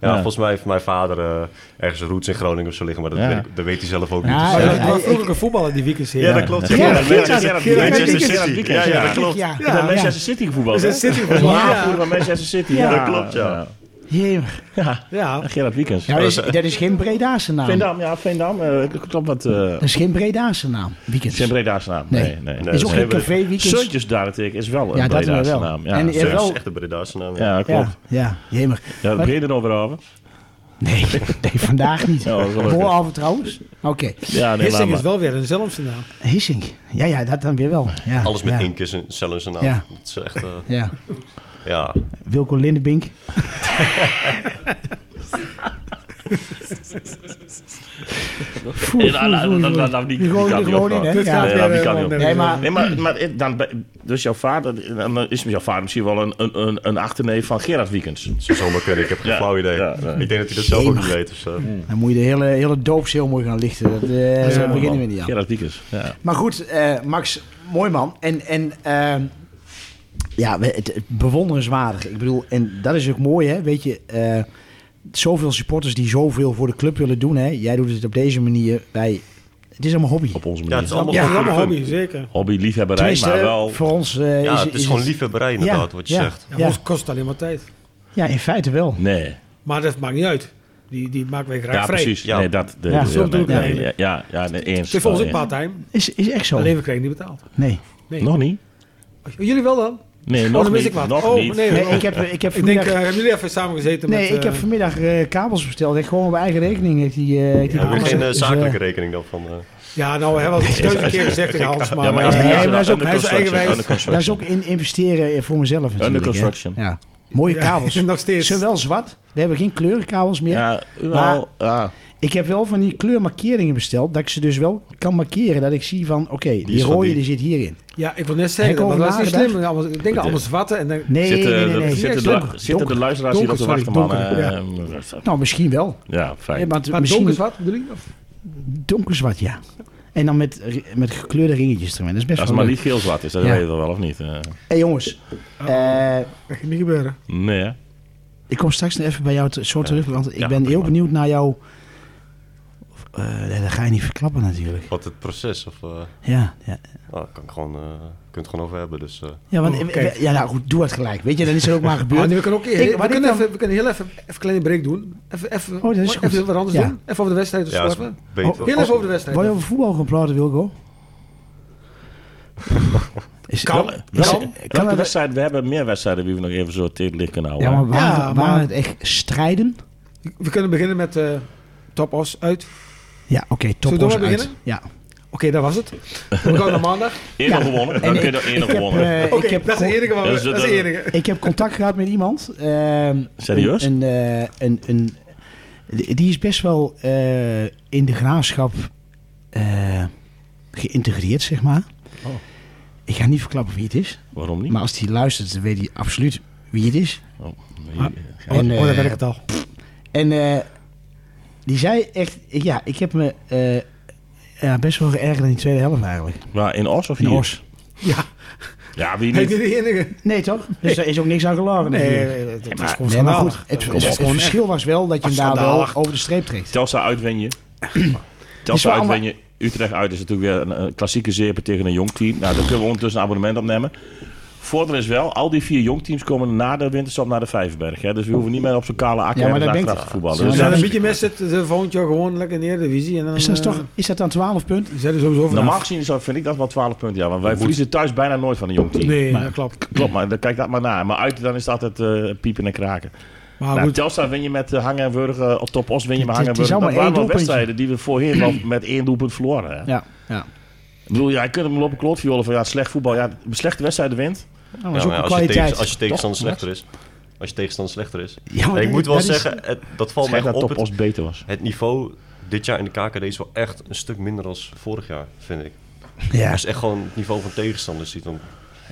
Ja. volgens mij heeft mijn vader eh, ergens roots in Groningen of zo liggen, maar dat, Ja. weet, ik- dat weet hij zelf ook Ja, niet. Dus, Oh, eh, ja, Ja, dat was ik- vroeger een voetballer die weekend Ja, dat klopt. Ja, Ja, dat Gerard, Manchester Gerard, City. Gerard, Manchester Gerard, City. Ja, ja, Gerard, dat Gerard. klopt. Ja, Ja, Manchester City gevoetbald, Is hè? dat City gevoetbald? Ja, Ja. vroeger bij Manchester City. Ja, dat klopt, ja. Jemig. Ja. Ja, Gerard Wiekens. Ja, dat, is, dat is geen Bredaanse naam. Dat Veendam, ja, Veendam. eh, k- klopt wat... eh is geen Bredaanse naam. Weekends. zijn Breda's naam. Nee, Nee. nee. nee. Nee, is ook dat geen hebben- café weekends. Suntjes daarentegen is wel een Ja, dat Breda's wel. naam. Ja, En- en- Dat is wel- echt een Bredaanse naam. ja. ja Ja, klopt. ja, jemig. Ja, Maar- breder over hebben. Nee, [LAUGHS] nee vandaag niet. Ja, gelukkig. Vooravond trouwens. Oké. Ja, nee, laat Hissing is maar. wel weer een zelfnaam. Hissing. Ja, ja, dat dan weer wel. Ja, Alles met ja. ink is een cel in zijn naam. Ja. Dat is echt, eh, Ja. ja. Wilco Lindebink. Voer, Ja, nou, voer, voer, nou, nou, voer. nou, die- Die die gooien kan er niet gewoon in, hè? opgaan. Dit Ja. gaat Nee, nou, weer, die eh, kan niet op. onder- Nee, maar... Nee, maar, maar het- dan, bij- dus jouw vader, dan is jouw vader misschien wel een, een, een, een achterneef van Gerard Wiekens. Zou zomaar kunnen. Ik heb geen Ja, flauw idee. ja, Mm. ja. Ik denk dat hij dat zelf ook niet Jemig. weet. Dus, eh, Dan moet je de hele, hele doop heel mooi gaan lichten. Dat, eh, daar beginnen we niet aan. Gerard Wiekens, ja. Maar goed, eh, Max, mooi man. En, en ehm, ja, we- het, het bewonderenswaardig. Ik bedoel, en dat is ook mooi, hè? Weet je, eh, zoveel supporters die zoveel voor de club willen doen, hè? Jij doet het op deze manier. Wij, het is allemaal hobby. op onze ja, het manier. is allemaal Ja, gewoon allemaal voor de hobby, fun. zeker. Hobby, liefhebberij, Tenminste, maar wel... voor ons eh, Ja, is, het is gewoon liefhebberij inderdaad, wat je ja, zegt. Ja, Ja, ons kost alleen maar tijd. ja, in feite wel. Nee, Maar dat maakt niet uit. Die, die maken wij graag ja, vrij. precies. Ja. Nee, dat... de- Ja, de- zo nee, doe ik nee, het nee, eigenlijk. Ja, ja, nee, eens. Het is voor ons Nee. ook part-time. Is, is echt zo. Alleen we kregen niet betaald. Nee. Nee. Nog niet? Oh, Jullie wel dan? Nee, Oh, nog dan mis niet. ik wat. Nog Oh, niet. nee. nee ik heb, ik heb Ik denk, vanmiddag, eh, hebben jullie even samen gezeten nee, met... ik heb eh, vanmiddag eh, kabels besteld. Ik gewoon op mijn eigen rekening. Heeft die, eh, heeft die Ja, we hebben betaald. geen eh, Dus, eh, zakelijke rekening dan van. eh, Ja, nou, we hebben al duizend keer gezegd tegen Hans, maar... Ja, maar eh, is Nee, niet maar dat is ook- under hij is construction, eigenwijs. under construction. Dat is ook in investeren eh, voor mezelf natuurlijk. Under hè. construction. Ja. Mooie ja, kabels. [LAUGHS] Nog Ze steeds. zijn wel zwart. We hebben geen kleurenkabels meer. Ja, Maar- wel, ja. Ik heb wel van die kleurmarkeringen besteld. Dat ik ze dus wel kan markeren. Dat ik zie van, oké, die, is van rode die. die zit hierin. Ja, ik wil net zeggen, Heb ik dat over was niet nagedacht? slim. Allemaal- Ik denk allemaal zwatten en dan... Nee, Zitten, nee, nee. de- nee. eh, zitten, de, Donker, zitten de donker. luisteraars hier op te donker, wachten, man? sorry, Eh, Nou, misschien wel. Ja, Ja, fijn. want Maar misschien donker donkerzwart. zwart bedoel je? Of- ja. En dan met, met gekleurde ringetjes erin. Dat is best Als het wel maar leuk. niet geel zwart is, dat Ja. weet je wel of niet. eh. hey, jongens. eh, Dat gaat niet gebeuren. nee, hè? Ik kom straks nog even bij jou te- zo terug, want ik Ja, ben heel prima. benieuwd naar jou. Eh, nee, dat ga je niet verklappen natuurlijk. Wat het proces? Of, eh, Ja, ja. nou, kan ik gewoon, eh, kun je het gewoon over hebben. Dus, eh, ja, want, Oh, kijk. ja nou goed, doe het gelijk. Weet je, dan is het ook [LAUGHS] maar Ah, gebeurd. nee, we kunnen ook Ik- we, wat ik kunnen dan- Oh, even, we kunnen heel even, even een kleine break doen. Even, even, dat is even goed. wat anders Ja. doen. Even over de wedstrijd te ja, is slapen. beter. Heel even over de wedstrijd. Wou je Oh, over voetbal gaan praten, [LAUGHS] Wilco? Is, Kan. is- Kan. kan Welke dat- wedstrijden? We hebben meer wedstrijden die we nog even zo tegen het licht kunnen Ja, houden. maar waren, maar- waren het echt strijden? We kunnen beginnen met eh Top Os uit. Oké, Ja, oké, top Zullen we ons door uit. beginnen? Ja. dat was het. We gaan naar [LAUGHS] maandag. Eerder gewonnen. Dan En kun je ik- er eerder ik heb, gewonnen. eh, Oké, ik heb dat is de gewoon- enige. Waar we, Dat is- dat is de dat- enige. [LAUGHS] Ik heb contact gehad met iemand. ehm, Serieus? Een, een, eh, een, een- die die is best wel eh, in de graafschap eh, geïntegreerd, zeg maar. Oh. Ik ga niet verklappen wie het is. Waarom niet? Maar als hij luistert, dan weet hij absoluut wie het is. Oh, nee, Maar- ja. Oh, En, oh, daar eh, ben ik het al. En eh, die zei echt... ik- Ja, ik heb me eh, ja, best wel geërgerd in die tweede helft eigenlijk. Maar Nou, in Os of In hier? Os. Ja, Ja, wie hij is niet? niet de enige. Nee, toch? Dus daar is ook niks aan gelogen. Nee, natuurlijk. dat maar- is gewoon Nou, Nee, maar goed. schandalig. Het, Kom het- op. het verschil was wel dat je hem daar wel Schandalig. over de streep trekt. Telsa uit wen je. Is wel Telsa uit allemaal- wen je. Utrecht uit is natuurlijk weer een, een klassieke zeepen tegen een jong team. Nou, daar kunnen we ondertussen een abonnement op nemen. Voordeel is wel, al die vier jongteams komen na de winterstop naar de Vijverberg. Hè? Dus we hoeven niet meer op zo'n kale akker Ja, maar en dat achteraf denkt- te voetballen. Ja, Dus Als je maar dat dan een is- beetje mis zit, dan volgend jaar gewoon lekker in de Eredivisie. En dan, Is dat, eh, toch, is dat dan 12 punten? Zijn er sowieso vanaf. normaal gezien zou- vind ik dat wel 12 punten. Ja, want wij verliezen thuis bijna nooit van een jong team. Nee, Maar- dat klopt. Klopt, maar dan kijk dat maar na. Maar uit dan is het altijd eh, piepen en kraken. Maar nou, goed, Telstra win je met eh, Hangen en Wurgen. Op Top Os win je met Het- het Hangen en is Wurgen. Dat allemaal waren één wel doelpuntje. wedstrijden die we voorheen wel [CLEARS THROAT] met één doelpunt verloren. Hè? Ja. ja. Ik bedoel, ja, je kunt hem lopen klootviolen van ja, slecht voetbal. Ja, slechte wedstrijden wint. Nou, ja, dat is maar ook ja, een als, je tegen, kwaliteit. als je tegenstander Toch? slechter is. Als je tegenstander slechter is. Ja, maar Nee, ik dat- moet wel dat is- zeggen, het, dat valt mij Schijnt dat echt op. Top Het, Os beter was. het niveau dit jaar in de KKD is wel echt een stuk minder dan vorig jaar, vind ik. ja. Als je echt gewoon het niveau van tegenstanders ziet, dan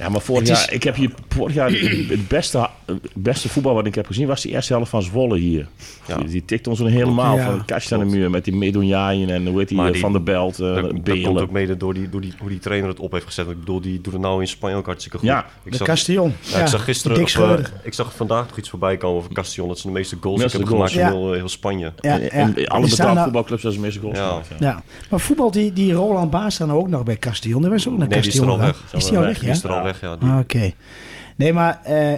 Ja, maar vorig Het jaar, ik heb hier vorig jaar het beste, het beste voetbal wat ik heb gezien was die eerste helft van Zwolle hier. Ja. Die, die tikte ons een helemaal Ja. van kastje aan de muur met die Medunjaien en hoe heet die, Maar eh, die- Van der Belt, eh, dat, dat komt ook Belen. mede door, die, door die, hoe die trainer het op heeft gezet. Ik bedoel, die doet het nou in Spanje ook hartstikke goed. Ja, ik De zag, Castillon. ja, ik zag gisteren, Dick of, eh, Scheuder. ik zag vandaag nog iets voorbij komen over Castillon. Dat ze de meeste goals Meeste hebben gemaakt goals. in heel, eh, heel Spanje. Ja, ja. En, en alle Die staan betaald nou- voetbalclubs hebben ze meeste goals Ja. gemaakt, ja. Ja. Maar voetbal, die, die Roland Baas staan ook nog bij Castillon. Die was ook naar Nee, die is er Castillon al gegaan. weg. Is die al weg, Die ja? is er al weg, ja. Die- Ah, Oké. Nee, maar eh,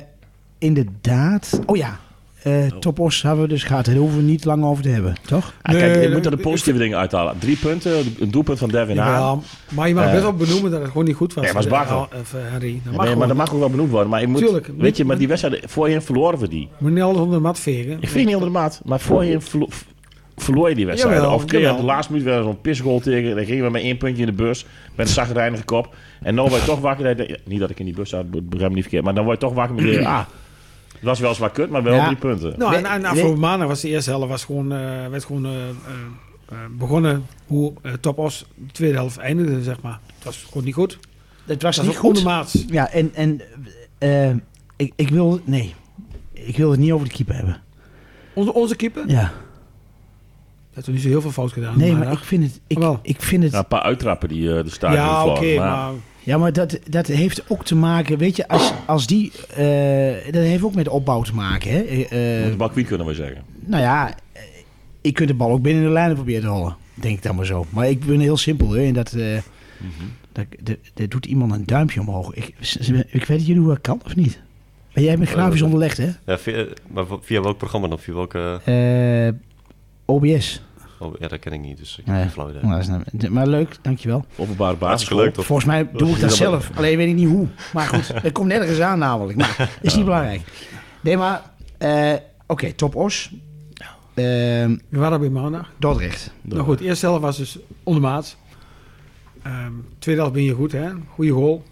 inderdaad... Oh ja, eh topos hebben we dus gehad. Daar hoeven we niet lang over te hebben, toch? Ah, kijk, je Nee, moet er de ik- positieve dingen uithalen. Drie punten, een doelpunt van Devin Haan. Jawel, maar je mag nou. Eh, best wel benoemen dat het gewoon niet goed was. nee, was Eh, bagger. eh, voor Henry. Dat mag Nee, maar dat mag ook wel benoemd worden. Maar ik moet, Tuurlijk. weet je, maar die wedstrijd, voorheen verloren we die. Moet niet alles onder de mat vegen. Ik vind het niet onder de maat, maar voorheen verlo- v- verloor je die wedstrijd. Jawel, of kreeg je op de jawel. laatste minuut weer zo'n pisgoal tegen. Dan gingen we met één puntje in de bus. Met een zagrijnige kop. En dan word je toch wakker. dat je denkt, Niet dat ik in die bus zat, be- begrijp me niet verkeerd. Maar dan word je toch wakker met de idee, ah, het was wel zwaar kut, maar wel Ja. drie punten. Nou, en, en afgelopen nee. maandag was de eerste helft was gewoon, eh, werd gewoon eh, eh, eh, begonnen hoe eh, Topos de tweede helft eindigde, zeg maar. Het was gewoon niet goed. Het Het was was niet ook onder goed. maat. Ja, en, en eh, ik, ik wil... Nee, ik wil het niet over de keeper hebben. Onze, onze keeper Ja. heeft er niet zo heel veel fout gedaan. Nee, maar maandag. ik vind het... Ik, Wel. ik vind Ja, het een paar uittrappen die eh, de staart ja, oké, maar ja, maar dat, dat heeft ook te maken... Weet je, als, als die... eh, dat heeft ook met opbouw te maken, hè? Eh, eh, De bakwiet kunnen we zeggen. Nou ja, eh, ik kunt de bal ook binnen de lijnen proberen te hollen. Denk ik dan maar zo. Maar ik ben heel simpel. Hè, en dat, eh, dat, dat, dat doet iemand een duimpje omhoog. Ik, s- s- ik weet niet hoe dat kan of niet. Maar jij bent grafisch Eh, onderlegd, hè? Ja, via, maar wa- via welk programma dan? Via welke... Eh, OBS. Oh, ja, dat ken ik niet, dus ik heb Nee. geen flauw idee. Nou, dat is nou- maar leuk, dankjewel. Openbare basis. Hartstikke leuk, toch? Volgens mij doe ik dat Ja, maar- zelf. Alleen weet ik niet hoe. Maar goed, dat komt nergens aan namelijk. [LAUGHS] Maar is niet belangrijk. Nee, maar... eh, Oké, top os. Ehm, we waren bij maandag. Dordrecht. Nou goed, de eerste helft was dus onder maat. Ehm, tweede helft ben je goed, hè? Goeie goal.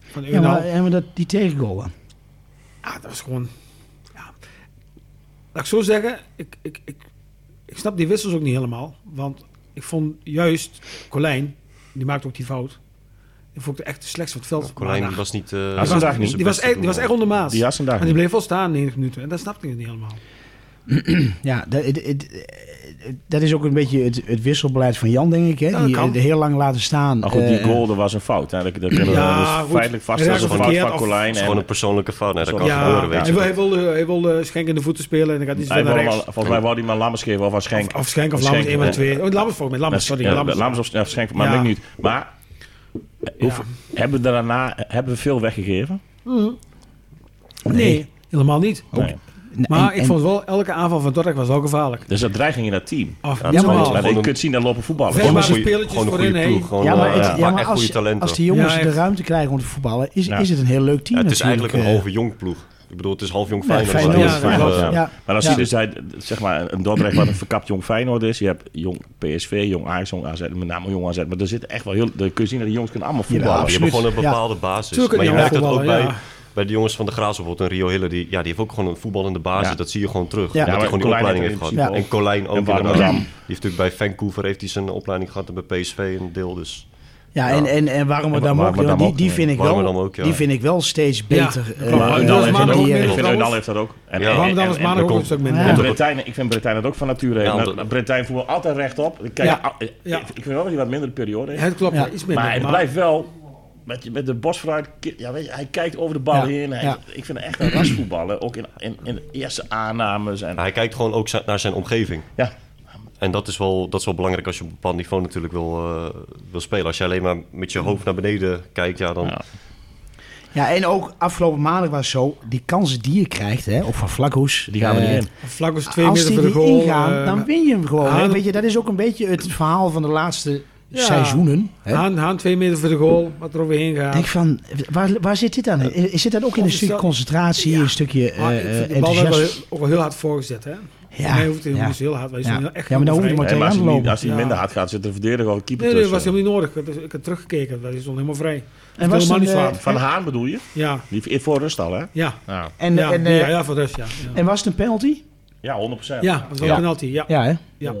Van Ja, Eunal. maar, eh, en we dat, die tegengoal dan? Ja, dat was gewoon. Ja. Laat ik zo zeggen, ik, ik, ik, ik snap die wissels ook niet helemaal. Want ik vond juist Colijn, die maakte ook die fout. Die vond ik echt de slechtste van het veld. Colijn maandag. was niet... eh, was- zijn die beste die, was echt, die was echt onder maat. Die had zijn dag En die niet. bleef wel staan 90 minuten. En dat snapte ik niet helemaal. Ja, dat, het- het- dat is ook een beetje het, het wisselbeleid van Jan, denk ik. Hè? Ja, dat die kan. de heel lang laten staan. Nou goed, die eh, goal, dat was een fout. Hè. Dat, dat kunnen Ja, we dus goed. feitelijk vaststellen. Ja, Dat is een verkeerd, fout of- van Colijn. Het is gewoon En, een persoonlijke fout. Nee, dat kan Ja, gebeuren, weet hij, wil- je. hij wilde, hij wilde Schenk in de voeten spelen. En dan gaat hij zo hij naar wou hem nou rechts. al- volgens mij wou hij maar Lammers geven of was Schenk. Of, of Schenk of Of Lammers, Schenk, één van de eh, twee. Oh, Lammers volgens mij. Lammers, sorry. Ja, Lammers. Lammers of, of Schenk, maar Ja. ben ik niet. Maar eh, hoeveel- hebben, we daarna, hebben we veel weggegeven? Nee, helemaal niet. Nee. en- Maar en- ik vond wel, elke aanval van Dordrecht was wel gevaarlijk. Dus dat dreiging in dat team. Of, dat is normaal. wel- Maar Gewoon je een- kunt zien, daar lopen voetballers. Veel Gewoon een maar goeie- speeltjes gewoon een goede voorin, ploeg. hè? Gewoon, Ja, maar, eh, het- ja, ja, maar echt als, goede talenten. als die jongens Ja, de echt. ruimte krijgen om te voetballen, is, Ja. is het een heel leuk team. Ja, het is natuurlijk, eigenlijk een eh. halve jong ploeg. Ik bedoel, het is half jong Nee, Feyenoord. maar Feyenoord, heel veel, Feyenoord, eh, Ja. Ja. Maar als Ja. je dus hij, zeg maar, een Dordrecht wat een verkapt jong Feyenoord is. Je hebt jong PSV, jong Ajax, jong AZ, met name jong AZ. Maar er zit echt wel heel... Dan kun je zien dat die jongens kunnen allemaal voetballen. Je absoluut. hebt gewoon een Ja. bepaalde basis. Tuurlijk, maar je ja, merkt dat ook voetballen, bij, ja. bij de jongens van de Graas bijvoorbeeld. En Rio Hille, die, ja, die heeft ook gewoon een voetballende basis. Ja. Dat zie je gewoon terug. Ja, dat maar hij gewoon die Colijn opleiding heeft heeft gehad. in principe En Colijn ook En Warmerdam. inderdaad. Die heeft natuurlijk bij Vancouver heeft hij zijn opleiding gehad. En bij PSV een deel dus. Ja, en, en, en waarom we En dan ook? waarom joh, we dan Die, ook, die, ja. vind ik Waarom we wel, dan ook, ja. die vind ik wel steeds beter. Ja, eh, klopt. Maar Ja, dan Uidal dat is heeft die, dat ook. maandag ook eh, Ik vind minder. Uidal heeft dat ook. En- Ja. en- Waarom dan was en- maandag ook komt- een stuk minder? Ja. En Bretagne, ik vind Bretagne dat ook van nature. Ja, heeft. omdat- Nou, Bretagne voetbal altijd rechtop. Ik, kijk, Ja. ah, eh, Ja. ik vind wel dat hij wat minder de periode heeft. Het klopt, Ja. ja. iets minder. Maar hij blijft wel met, met de bos vooruit. ki- Ja, weet je, hij kijkt over de bal Ja, heen. Hij, ja. Ik vind hem echt een rasvoetballer. Ook in, in, in de eerste aannames. En, Hij kijkt gewoon ook zi- naar zijn omgeving. ja, En dat is, wel, dat is wel belangrijk als je op een bepaald niveau natuurlijk wil, eh, wil spelen. Als je alleen maar met je hoofd naar beneden kijkt, ja, dan... Ja. Ja, en ook afgelopen maandag was het zo, die kansen die je krijgt, hè, of van Vlakhoes. die gaan we eh, niet in. Vlakkers twee Als meter die voor de erin goal. gaan, eh, dan win je hem gewoon. hè. Haan- Weet je, dat is ook een beetje het verhaal van de laatste Ja. seizoenen. Hè? Haan, Haan twee meter voor de goal, wat er overheen gaat. Denk van, waar, waar zit dit aan? Is- Zit dat ook in een Of is stukje dat- concentratie, een stukje maar ik eh, vind die bal werd wel, enthousiasme? heel- ook wel heel hard voorgezet, hè? Ja, Nee, hoeft hij ja. niet zo heel hard. Wij Ja. zijn heel echt Ja, maar daar hoef je overeind. maar Nee, maar als hij, lopen. niet- als hij Ja. minder hard gaat, zit er verdediger al een keeper Nee, nee, dat was tussen. helemaal niet nodig. Dat is- Ik heb teruggekeken, dat is helemaal vrij. En was En was helemaal het, niet eh, zwaar. Van Haan bedoel je? Ja, Die voor rust al, hè? ja. Ja, En, ja, en, die- eh, ja, ja, voor de rest, ja. Ja, en was het een penalty? ja 100 procent. ja dat was wel Ja. een penalty, ja. Ja, hè? Ja.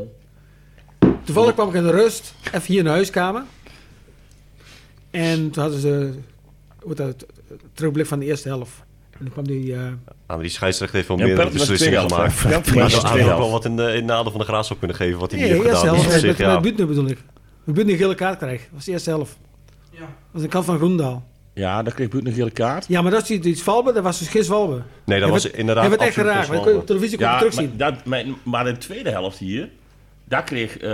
Toevallig kwam ik in de rust, even hier in de huiskamer. En toen hadden ze hoe heet dat, het terugblik van de eerste helft. En toen kwam die... eh, Ah, maar die scheidsrechter heeft wel Ja, meerdere penalty was tweede beslissingen helft. gemaakt. hè. Penalty [LAUGHS] Maar was dat had tweede ook wel helft. wat in de, in de nadel van de graas op kunnen geven. Wat hij nee, hier de heeft eerste gedaan. helft Dus op met, met, zich, ja. met Buutner bedoel ik. Met Buutner een gele kaart krijgt. Dat was de eerste helft. Dat was een kant van Groendaal. Ja, dan kreeg Buurt een gele kaart. Ja, maar dat is iets- iets Valbe, dat was dus geen Walbe. Nee, dat was inderdaad Hij werd echt absoluut geraakt, geen want dat kun je op Zwalbe. televisie kon je Ja, terugzien. maar, dat, maar, maar de tweede helft hier, daar kreeg eh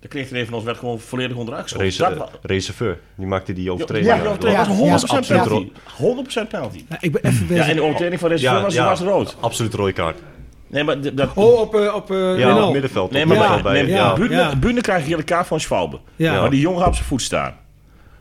De knechtenreef van ons werd gewoon volledig onderuit geschoten. Race, Dat wa- reserveur. Die maakte die Ja, overtreding. ja, aan. dat was ja, 100% ja. penalty. 100% penalty. Nou, ik ben even Ja, bezig. en de overtreding van reserveur was, was rood. Absoluut rode kaart. Nee, maar d- dat... Oh, op, eh, op eh, Ja, Wijnaldum. op middenveld. Nee, op maar middenveld ja, bij, nee, maar ja. Brune, Ja. Brune krijgt hier de kaart van Schwalbe. Ja. Maar die jongen gaat op zijn voet staan.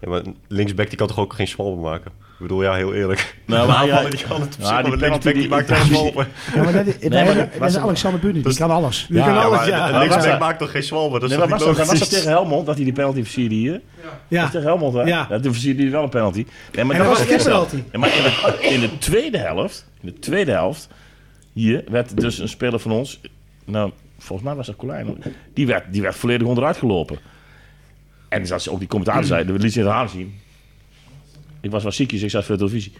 Ja, maar linksback die kan toch ook geen zwalbe maken? Ik bedoel, ja, heel eerlijk. [LAUGHS] Nou, De maar aanvaller, ja, die kan het op ja, zich, maar die de penalty linksback die die- maakt geen die- zwalbe. Ja, maar dat, dat- maar dat- dat- dat is Alexander Bunen, die kan alles. Die Dus- kan Ja, alles, maar ja. een was linksback dat? maakt toch geen zwalbe? Dat is Nee, maar toch was niet dat, was dat logisch? tegen Helmond dat hij die penalty versierde hier? Ja. Tegen Helmond, hè? Ja. Dat versierde hij wel een penalty. Nee, maar En dat was geen wel- penalty. Ja, maar in de, in de tweede helft, in de tweede helft, hier werd dus een speler van ons, nou, volgens mij was dat Colijn, hoor. die werd, die werd volledig onderuit gelopen. En zat ze op die commentaar zei, we lieten ze het haar zien. Ik was wel ziekjes, ik zat voor de televisie.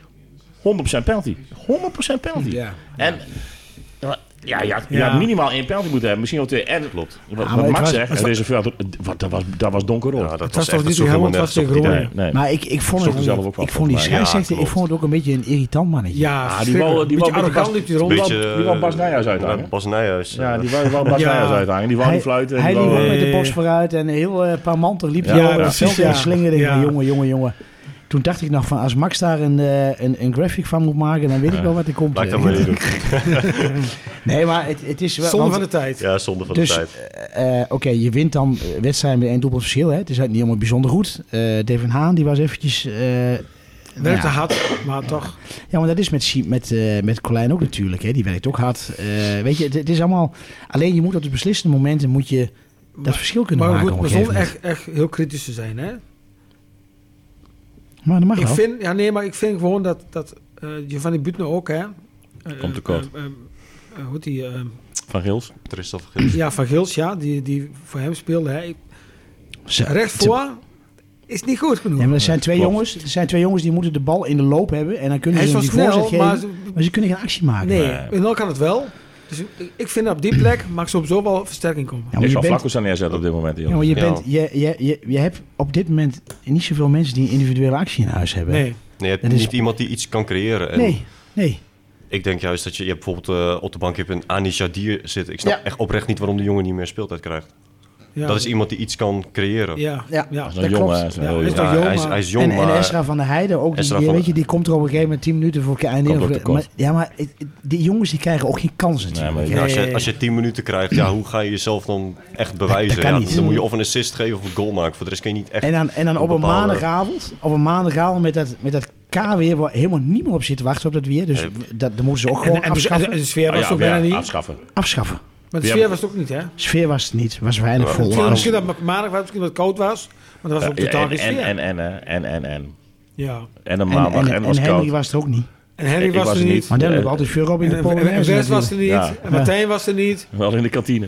100% penalty. 100% penalty. Ja. En ja, je had, je Ja. had minimaal één penalty moeten hebben. Misschien wel twee. En Klopt. Wat, maar wat het Max was- zegt, deze veld, wat, dat, was, dat was donkerrood. Ja, dat Het was was toch echt niet dat tegen sloeg helemaal Helmond, het was nergens op. tegen die Groningen. nee, nee. Maar ik, ik vond, Zocht het, er zelf ook van, ik vond die volgens mij. Ja, scheidsrechter, ik klopt. vond het ook een beetje een irritant mannetje. Ja, Ah, die verschrikkelijk. wou, die Beetje wou arrogant liep hij die rond. Beetje- wou- die wou Bas Nijhuis Ja, uithangen. Bas Nijhuis. Ja, eh, die wou, wou Bas Ja. Nijhuis uithangen. Die wou Hij, niet fluiten. die hij liep wou- ook eh, met de bos vooruit en heel eh, paar manter liep Ja, hij al ja, over het precies, veld en ja. slingerde. Ik Ja. dacht, Jongen, jongen, jongen. Toen dacht ik nog van, als Max daar een, eh, een, een graphic van moet maken, dan weet ik wel wat er komt. Laat ik dat maar niet doen. Nee, maar het, het is wel... Zonde want- van de tijd. Ja, zonde van de Dus tijd. eh, eh, oké, je wint dan eh, wedstrijden met één doelpunt verschil. Hè? Het is niet helemaal bijzonder goed. Eh Devin Haan, die was eventjes... eh, Werkte ja. hard, maar toch. Ja, maar dat is met, Siem- met, eh, met Colijn ook natuurlijk. Hè? Die werkt ook hard. Eh, weet je, het, het is allemaal... Alleen je moet op de beslissende momenten moet je dat Maar- verschil kunnen Maar maken. goed, op maar een gegeven zonder echt, echt heel kritisch te zijn. Hè? moment. Maar dat mag Ik wel. vind, ja, nee, maar ik vind gewoon dat, dat eh, Giovanni Butner ook, hè. Eh, Komt tekort. eh, eh, eh, hoe heet die? eh, Van Gils. Tristan van Geest. ja, Van Gils, ja, die, die voor hem speelde. Hè. Ik- Zo, Recht te- voor is niet goed genoeg. Ja, maar er zijn, twee Klopt. jongens, er zijn twee jongens die moeten de bal in de loop hebben. En dan kunnen Hij ze is hem wel die voorzet snel, geven. maar Maar, ze- ze kunnen geen actie maken. nee, Nee. en dan kan het wel. Dus ik- ik vind dat op die plek mag sowieso wel versterking komen. Ja, maar Ik je zou bent- Flacco's aan neerzetten op dit moment. Ja, joh. maar je, Ja. bent, je, je, je, je hebt op dit moment niet zoveel mensen die een individuele actie in huis hebben. Nee, Nee, je hebt Dat is- niet iemand die iets kan creëren. En Nee, nee. Ik denk juist dat je, je hebt bijvoorbeeld eh, op de bank je hebt een Ani Shadir zitten. Ik snap Ja. echt oprecht niet waarom de jongen niet meer speeltijd krijgt. ja. Dat is iemand die iets kan creëren. Ja, Ja. ja. Dat is dat een jongen. klopt. hè, dat is een Ja, heel hij is jongen. toch Ja, jong, hij, is, maar- hij is jong, en, maar... en Esra van der Heijden ook. Die, Esra die- van- weet je, die komt er op een gegeven moment 10 minuten voor elkaar. Komt ook in. tekort. Maar, ja, maar het- het- die jongens die krijgen ook geen kansen. Nee, maar natuurlijk. Ja, als, Nee. je, als je 10 minuten krijgt, ja, hoe ga je jezelf dan echt bewijzen? dat kan ja, niet. Dan moet je of een assist geven of een goal maken. Voor de rest kun je niet echt... En dan, en dan op een bepaalde- maandagavond, op een maandagavond met dat, met dat K weer, waar helemaal niemand op zit te wachten op dat weer. Dus dat, dat moeten ze ook En, gewoon en, en afschaffen. de sfeer Ah, was ja, ook ja, bijna niet. Afschaffen. afschaffen. Maar de Ja, sfeer maar- was het ook niet, hè? Sfeer was het niet, was weinig vol. Misschien, Maar- misschien dat het maandag was, misschien dat het koud was. Maar dat was ook Ja, totaal geen En, en, sfeer. en, en, eh, en, en, en. ja. En een En, en, maandag. En en, het was Henry koud. was er ook niet. En Henry Ik was, er Maar niet. daar Nee. hebben we altijd veel op in de En, en, en Polonaise. Wes was er niet. Ja. En Martijn was er niet. Wel in de kantine.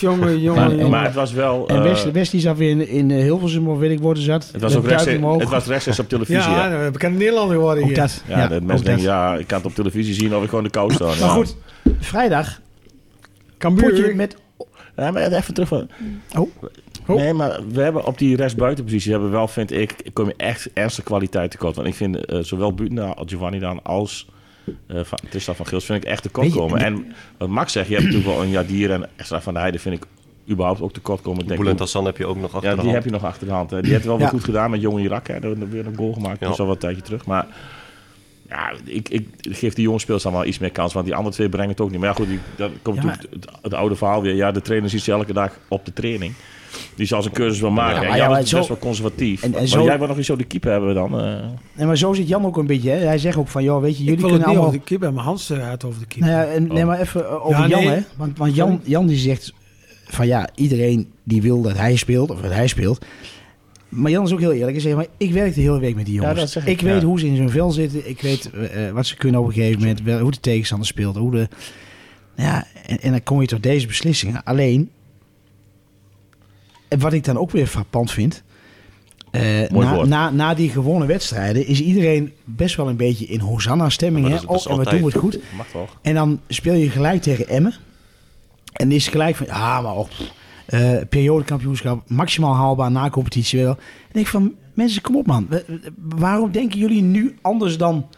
Jongen, jongen, Maar, jongen. maar het was wel... En eh, Wes, Wes die zat weer in, in eh, Hilversum, of weet ik worden zat. Het was Met ook duiken rechtstreeks omhoog. het was rechtstreeks op televisie. hè. Ja, nou, we bekende Nederlander geworden Ook hier. dat. Ja, dat ook mensen denken, dat. ja, ik kan het op televisie zien of ik gewoon in de kou sta. Maar goed, vrijdag potje Cambuur. met... Ja, maar even terug. van- Oh. Oh. Nee, maar we hebben op die rechtsbuitenpositie hebben we wel, vind ik, kom je echt ernstige kwaliteit tekort. Want ik vind eh, zowel Butna als Giovanni dan als eh van, Tristan van Gils vind ik echt tekort Weet je, komen. En wat Max zegt, je hebt natuurlijk wel een Jadier en extra van der Heijden vind ik überhaupt ook tekort komen. Ik denk, Boulent Hassan heb je ook nog achter ja, de die hand. heb je nog achter de hand. Hè. Die heeft wel weer Ja. goed gedaan met jonge Irak. Hè. Daar hebben we weer een goal gemaakt. Ja. Dat is al wat tijdje terug. Maar ja, ik, ik geef die jonge speels dan wel iets meer kans. Want die andere twee brengen het ook niet. Maar ja, goed, die, dat komt Ja, natuurlijk het, het oude verhaal weer. Ja, de trainer ziet ze elke dag op de training. Die zal zijn cursus wel Ja, maken. Ja, maar en ja, Jan maar is zo- best wel conservatief. en- en maar zo- jij wil nog eens zo de keeper hebben dan. eh. Nee, maar zo zit Jan ook een beetje. Hè. Hij zegt ook van, joh, weet je, Ik jullie wil kunnen het niet allemaal... over de keeper, maar Hans eh, had het over de keeper. Nou ja, en- Oh. nee, maar even eh, over Ja, Jan, nee. hè. Want, want Jan, Jan die zegt van, ja, iedereen die wil dat hij speelt, of dat hij speelt. Maar Jan is ook heel eerlijk en zegt, maar ik werk de hele week met die jongens. dat zeg ik, ik weet ja. hoe ze in zijn vel zitten. Ik weet eh, eh, wat ze kunnen op een gegeven moment. wel- hoe de tegenstander speelt. Hoe de, ja, en, en dan kom je tot deze beslissingen. Alleen, en wat ik dan ook weer frappant vind... eh, Mooi na, woord. na, na die gewonnen wedstrijden is iedereen best wel een beetje in Hosanna-stemming. Ja, hè? maar dat is- oh, dat en is we doen het altijd. goed. Mag toch? En dan speel je gelijk tegen Emmen. En is gelijk van, ah, maar op. eh periodekampioenschap, maximaal haalbaar na competitie wel. En ik denk van, mensen, kom op man. We- we- Waarom denken jullie nu anders dan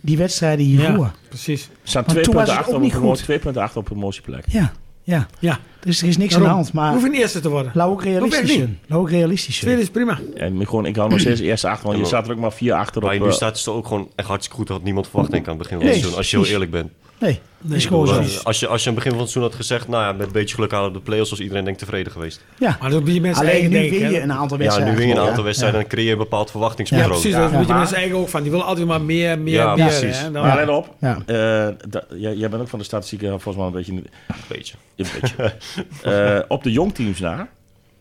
die wedstrijden hiervoor? precies. Er staan Maar twee toen was punten, het ook achter op een niet promo- goed. twee punten achter op een promotieplek. Ja. Ja, Ja, dus er is niks aan daarom. de hand. Maar hoef je niet eerste te worden. laat ook realistisch Hoeft echt zijn. Laat ook realistisch zijn. Tweede is prima. En gewoon, ik hou nog steeds eerst achter, want je Ja, maar- staat er ook maar vier achter op... Maar nu eh, staat het er ook gewoon echt hartstikke goed. Dat had niemand verwacht, denk ik, aan het begin van Nee, het seizoen. Als je heel precies. eerlijk bent. Nee, dat is gewoon zo. Eh, als, je, als je aan het begin van het seizoen had gezegd... Nou ja, met een beetje geluk halen we de play-offs... was iedereen denk ik tevreden geweest. Ja. Maar dat is een beetje mensen Alleen eigen nu denken. win hè. je een aantal Ja, wedstrijden. nu win je een gewoon, aantal ja. wedstrijden... en dan creëer je een bepaald Ja, verwachtingspatroon. precies. dat is een Ja, beetje maar- mensen eigen ook van. Die willen altijd maar meer, meer, Ja, meer. precies. hè. Dan- Maar let op, Ja. eh, da- jij, jij bent ook van de statistieken volgens mij een beetje... Een Een beetje. [LAUGHS] beetje. Eh, op de jongteams na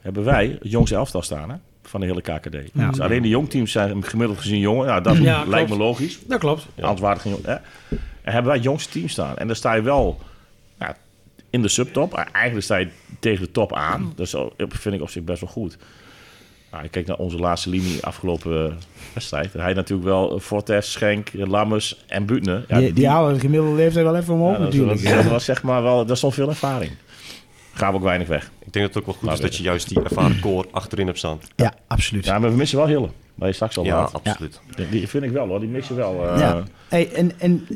hebben wij het jongste elftal staan hè, van de hele KKD. Dus alleen de jongteams zijn gemiddeld gezien jongen. Nou, dat Ja, lijkt me klopt. logisch. Dat klopt. Ja. Anders waren het geen jong- hè? En hebben wij het jongste team staan. En dan sta je wel ja, in de subtop. Maar Eigenlijk sta je tegen de top aan. Dus dat vind ik op zich best wel goed. Nou, ik kijk naar onze laatste linie afgelopen eh, wedstrijd. Hij natuurlijk wel eh, Fortes, Schenk, eh, Lammers en Butner. Ja, Die, die houden de gemiddelde leeftijd wel even omhoog ja, dat, natuurlijk. dat- dat was zeg maar wel, daar stond veel ervaring. Gaan we ook weinig weg. Ik denk dat het ook wel goed Maar is dat je juist die ervaren core achterin hebt staan. Ja, absoluut. Ja, maar we missen wel Hille. Waar je straks al Ja, had. absoluut. Die- Die vind ik wel hoor, die missen wel. eh, Ja. Hey, en, en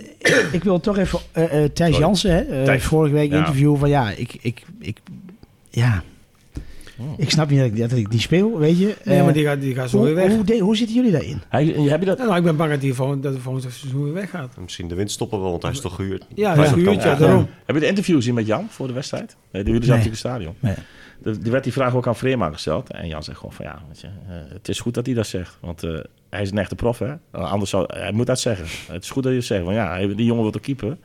ik wil toch even eh, eh, Thijs Jansen, hè, eh, Thijs. vorige week Ja. interview van ja, ik, ik, ik, ja, Oh. ik snap niet dat ik, dat ik niet speel, weet je. Nee, Eh, maar die gaat, die gaat zo hoe, weer weg. hoe, de- hoe zitten jullie daarin? Hij, heb je dat? Nou, ik ben bang dat hij volgend, dat hij volgend seizoen weer weggaat. En Misschien de wind stoppen wel, want hij is toch gehuurd. Ja, Hij is ja. ook Gehuurd, kans- ja, daarom. Heb je de interview gezien met Jan voor de wedstrijd? Nee, die jullie zaten Nee. natuurlijk in het stadion. Nee. Er er werd die vraag ook aan Vreema gesteld. En Jan zegt gewoon van ja, weet je, eh, het is goed dat hij dat zegt. Want eh, hij is een echte prof, hè? Eh, Anders zou hij moet dat zeggen. Het is goed dat je het zegt. Want ja, hij- die jongen wil toch keeper.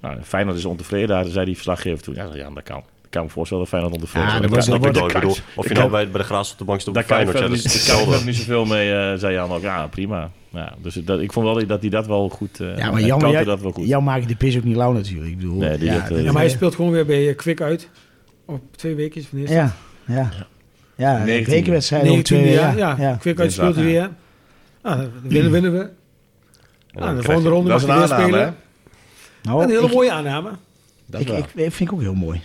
Nou, Feyenoord is ontevreden. Daar zei die verslaggever toen. Ja, ja dat kan. Ik kan me voorstellen dat Feyenoord ontevreden Ja, is. dat Ja, kan- snap ik wel. kan- Ik bedoel, of je nou kan- bij, bij de Graas op de bank stond daar of kan ik Feyenoord, ja, verder dat niet, is daar kan ik hetzelfde. verder niet zoveel mee, eh, zei Jan ook. Ja, prima. Ja, dus dat, ik vond wel dat hij dat wel goed... eh Ja, maar hij Jan, counter jij, dat wel goed. jou maak je de pis ook niet lauw natuurlijk. Ik bedoel, Nee, die- ja, dat, eh, Ja, maar hij speelt gewoon weer bij eh, Kwik uit. Op twee weken van eerst. ja, ja, ja, een 19e. bekerwedstrijd over 19e twee, ja, jaar. ja, Ja, Kwik uit speelt hij Ja. weer. Nou, dan winnen, winnen we. En Nou, dan de krijg volgende je- ronde Dat mag is hij een weer aanname, spelen. Nou, een hele ik, mooie aanname. Dat ik, wel. ik, ik vind ik ook heel mooi.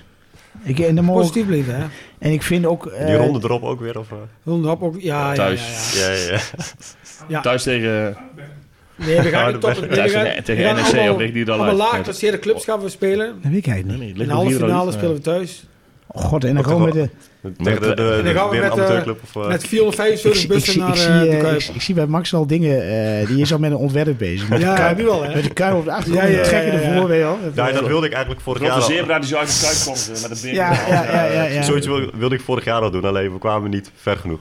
Ik, en, dan mogen- Positief blijven, hè. en ik vind ook... dus Die eh, ronde erop ook weer? Of, eh? Ronde hap ook. Ja, ja, Thuis. Ja, ja, ja, ja, ja. Thuis tegen... Nee, we gaan Ja, niet de top. beste- Nee, we Thuis gaan, tegen- tegen we gaan NEC allemaal- op weg die dan allemaal uit. laag geclasseerde clubs gaan we spelen. dat weet ik eigenlijk Nee, niet. nee, In ligt de nog halve hier al finale iets, spelen eh. we thuis. Oh god, en dan Ook gewoon met toch wel- de... Tegen de, de, de, En dan gaan we weer met, een amateurclub? Of, eh, Met Ik, zie- 475 ik, bussen zie- ik, naar zie, eh, de eh, ik, Kuip. zie- ik zie bij Max al dingen, eh, die is al met een ontwerp bezig. Met, Ja, nu wel, hè. met de kuil op de achtergrond, Ja, ja, ja, trekken ja, ja. ervoor, weet je wel. ja, dat wilde ik eigenlijk vorig Grote jaar al. zebra die zo uit de kuik komt eh, met een beer. Ja, ja, ja, ja, ja. Zoiets wil- wilde, ik vorig jaar al doen, alleen we kwamen niet ver genoeg.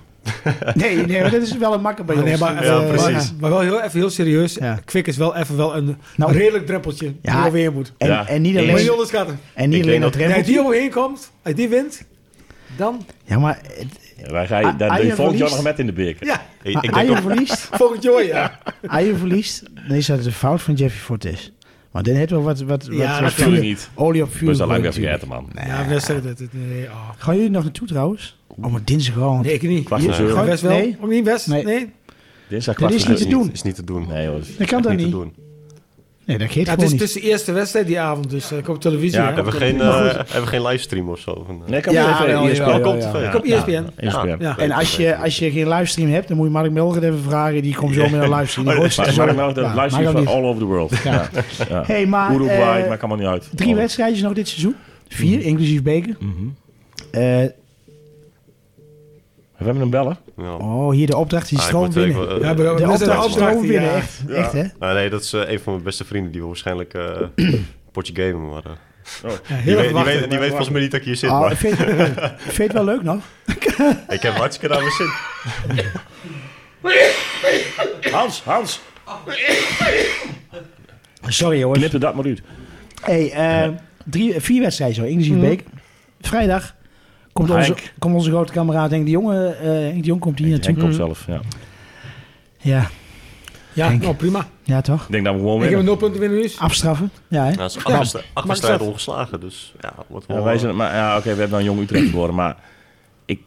Nee, nee, maar dat is wel een makker bij Maar, ons. nee, maar, Ja, eh, precies. maar- maar wel heel, even heel serieus. Ja. Kwik is wel even wel een Nou, redelijk drempeltje ja. die er overheen moet. En, Ja. en niet Moet je niet alleen, onderschatten. en niet Ik alleen denk dat dat- Als drempel. die overheen komt, als die wint, dan Ja, maar het- Wij gaan, daar Ah, doe je Arjen volgend jaar nog verliest. met in de beker. ja, Ik, maar ik als denk je ook, verliest, volgend jaar ja. als je verliest, dan is dat de fout van Jeffrey Fortes. Maar dan heeft wel wat, wat, wat, Ja, wat natuurlijk vuur- niet. olie op vuur. Dus dat lijkt gegooid me even natuurlijk. vergeten, man. Ja, best dat het. Nee, oh. Gaan jullie nog naartoe trouwens? Oh, maar dinsdag gewoon. nee, ik niet. Kwart voor Nee. Gewoon- zeven. West wel? nee. Ook niet West? Nee. Nee. Dat Dinsdag kwart is voor niet te zeven. doen. is niet te doen. Nee, hoor. Dat kan toch Niet te niet? doen. Nee, dat geeft Ja, het gewoon is niet. tussen de eerste wedstrijd die avond, dus eh, ik op televisie. Ja, hè. ik Hebben we geen, eh, hebben we geen livestream of zo? Van, eh, Nee, kan Ja, wel, ja, even ESPN. jawel, Ja, jawel, komt jawel. Ik op E ESPN. ESPN. Ja. En als je, als je geen livestream hebt, dan moet je Mark Melger even vragen. Die komt zo met een livestream. Die gooit ze Maar zo- maar nou, de Ja, livestream maakt ook van niet. all over the world. Ja. Ja. Hey, maar, Uruguay, eh, maar kan maar niet uit. Drie Oh. wedstrijdjes nog dit seizoen. Vier, Mhm. inclusief beker. Eh, We hebben een bellen. ja. oh, hier de opdracht. Die Ah, ik word stroomt er binnen. even, eh, Ja, maar dat De is een opdracht opdracht, stroomt ja. binnen. Echt, echt hè? Nou, nee, dat is eh, een van mijn beste vrienden. Die wil waarschijnlijk eh, een potje gamen. Maar, eh, Ja, die heel weet, erg die, wachten. weet, die weet volgens mij niet dat ik hier zit. Oh, maar ik vind, ik vind het wel leuk nog. ik heb hartstikke naar mijn zin. Hans, Hans, Sorry jongens. knip er dat maar uit. Hey, eh, drie, vier wedstrijden zo, inclusief beker. Vrijdag komt onze, Henk. komt onze grote kameraad Henk de Jonge. eh Henk de Jong komt hier Henk naartoe. komt zelf. Ja. Ja, Ja, Henk. nou prima. ja, toch? Ik denk dat we gewoon Ik heb een winnen. 0 punten winnen nu. dus- is. Afstraffen. Ja, hè? Nou, dat is Ja, acht wedstrijden- mag acht wedstrijden dat? ongeslagen. Dus ja, wordt wel... Ja, wij eh, zijn, maar, ja, oké, we hebben dan Jong Utrecht verloren, maar ik,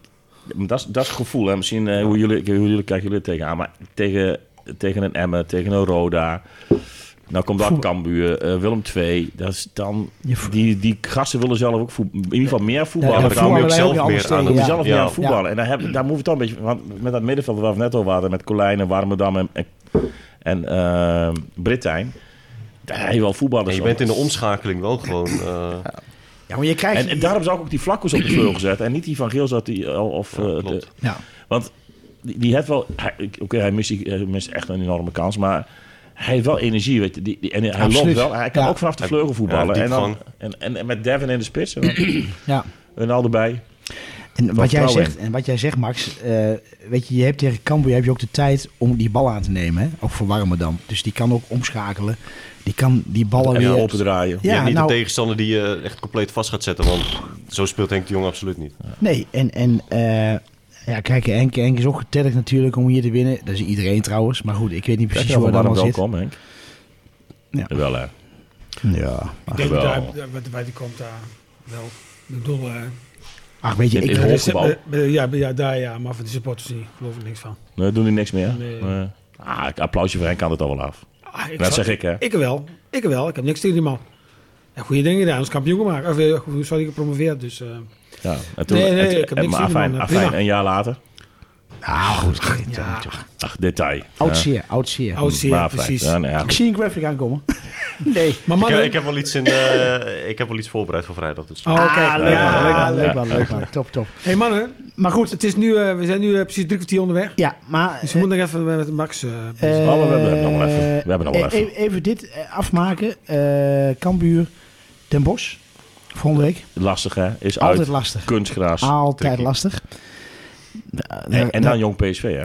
dat, is, dat is het gevoel. Hè. Misschien eh, hoe, jullie, hoe jullie kijken jullie er tegenaan, maar tegen, tegen een Emmen, tegen een Roda, nou komt dat Cambuur, eh, Willem II, dat is dan, Je voet- die, die gasten willen zelf ook voetbal, in ieder geval meer voetballen. ja, Ja, maar dan daar hou je ook voetballen zelf wij ook meer allemaal aan. steeds, het- ja. zelf meer aan voetballen. En daar, heb, daar moeten we toch een beetje, want met dat middenveld waar we het net over hadden, met Colijn en Warmerdam en, en, en eh, Brittijn, daar heb je wel voetballers. En je op. bent in de omschakeling wel gewoon... eh, Ja, maar je krijgt... En, en daarom zou ik ook die vlakkoes op de vleugel zetten. En niet die van Geels dat die al. Of, eh, klopt. de- ja. want die, die heeft wel. hij- Oké, hij mist, die- hij mist echt een enorme kans. Maar hij heeft wel energie. Weet je, die, die- en hij Absoluut. loopt wel. Hij kan Ja. ook vanaf de vleugel Ja, voetballen. diep en, dan, gewoon. en, en, en met Devin in de spits. En dan ja. Ronaldo erbij. En wat, Wat jij vrouwen. zegt, en wat jij zegt, Max, eh, weet je, je hebt tegen Cambuur heb je ook de tijd om die bal aan te nemen, hè? ook voor Warmerdam. Dus die kan ook omschakelen, die kan die ballen En weer... dan open draaien. je Ja, hebt niet nou- een tegenstander die je echt compleet vast gaat zetten. Want zo speelt Henk de Jong absoluut niet. Nee, en, en eh, ja, kijk, Henk, Henk is ook getergd natuurlijk om hier te winnen. Dat is iedereen trouwens, maar goed, ik weet niet Kijk precies nou hoe van dat waarom allemaal zit. welkom, Henk. Ja. Wel, hè. Ja, Ik denk dat wel. hij- dat- dat- waar die komt daar wel. Ik bedoel, eh, ach weet je, In- ik, in bij de- Hooggebouw. bij- bij- ja, bij- ja, daar ja, maar van die supporters niet, geloof ik niks van. Nee, doen die niks meer? Nee. Nee. Ah, een applausje voor Henk kan het al wel af. Ah, ik Dat zou- zeg ik, hè. Ik wel, ik wel. Ik heb niks tegen die man. Ja, goede dingen gedaan, ons kampioen gemaakt. Of, eh, goed, sorry, gepromoveerd, dus... eh, Ja. En toen, Nee, nee, en- ik heb en- niks maar zien, man. afijn, afijn, Prima. een jaar later. nou goed, ja, Ach, detail. oud zeer, oud zeer. oud zeer, Maar precies. fijn. Ja, nou ja, Ik goed. zie een graphic aankomen. nee. Maar Ik, mannen... ik heb wel iets, in, eh, ik heb wel iets voorbereid voor vrijdag. Dus. Oh, oké. Ah, leuk Ja. man, leuk man, leuk Ja. man, leuk man. Top, top. hey, mannen, Maar goed, het is nu, eh, we zijn nu eh, precies drie kwartier onderweg. ja, maar... Dus we moeten nog even met Max... eh, bezig. Oh, we hebben- we hebben nog wel even. We hebben nog wel Eh, even. e- Even dit eh, afmaken. Eh Kambuur, Den Bosch. Volgende week. Lastig, hè? Is Altijd uit. lastig. Kunstgras. Altijd tricky. lastig. Eh, Eh, en, en dan jong PSV, hè?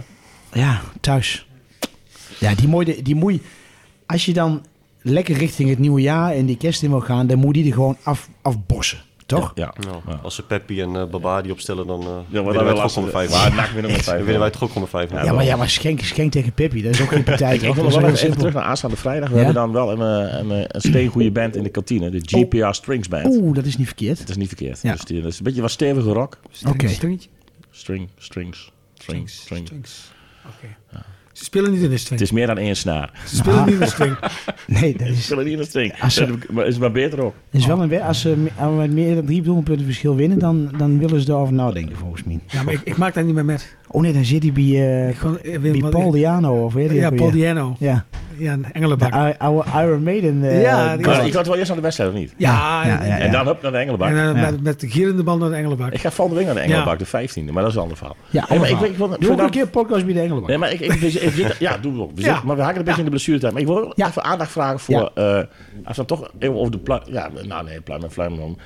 Ja, thuis. Ja, die moeite, die moei. Als je dan lekker richting het nieuwe jaar en die kerst in wil gaan, dan moet die er gewoon af, afbossen. Toch? Ja. ja. Nou, Als ze Peppi en eh Babadi opstellen, dan eh Ja, maar winnen dan wij wel het lastig. gok om vijf. Maar NAC winnen met vijf. Dan winnen wij het gok om vijf. Ja, maar, ja, maar Schenk, Schenk tegen Pippi, dat is ook geen partij. [LAUGHS] Ik, ik toch? wil Dat nog is wel heel even, even simpel. terug naar aanstaande vrijdag. We Ja? hebben dan wel een, eh, een, eh, een steengoede band in de kantine. De GPR Strings Band. Oh. Oeh, dat is niet verkeerd. Dat is niet verkeerd. Ja. Dus die, dat is een beetje wat stevige rock. Oké. Stringetje? String, strings, string, Strings. string. Strings. Oké. Ze spelen niet in de string. Het is meer dan één snaar. [LAUGHS] Ze spelen niet in de string. Nee, dat Ze is, spelen niet in een string. Als ze- Dat is- maar- is maar beter ook. is wel een we- Als ze me- als we met meer dan drie doelpunten verschil winnen, dan, dan willen ze erover nadenken, volgens mij. Ja, maar ik, ik maak daar niet meer met. Oh nee, dan zit hij bij, Ik eh, gewoon, eh, Wim, bij wat Paul ik- Diano of weet je Ja, ook Paul weer. Diano. Ja, Ja, een de engelenbak. i- oude Iron Maiden. eh, Ja, die- Maar gast. ik had wel eerst aan de wedstrijd, of niet? Ja, Ja, ja, ja. En dan hup naar de En Engelenbak. dan Ja. met, met de gierende bal naar de engelenbak. Ik ga volgende week naar de Engelenbak, de 15e. Maar dat is een ander verhaal. Ja, Hey, maar ik, allemaal. ik wil... Doe ook voordat- een keer een podcast bij de Engelenbak. Nee, maar ik, ik, we zitten- ja, doen we ook. We Ja. zitten- maar we haken een beetje in de blessuretijd. Maar ik wil wel Ja. even aandacht vragen voor... eh, als we dan toch even over de pluim... Ja, nou nee, pluim en pluim. dan-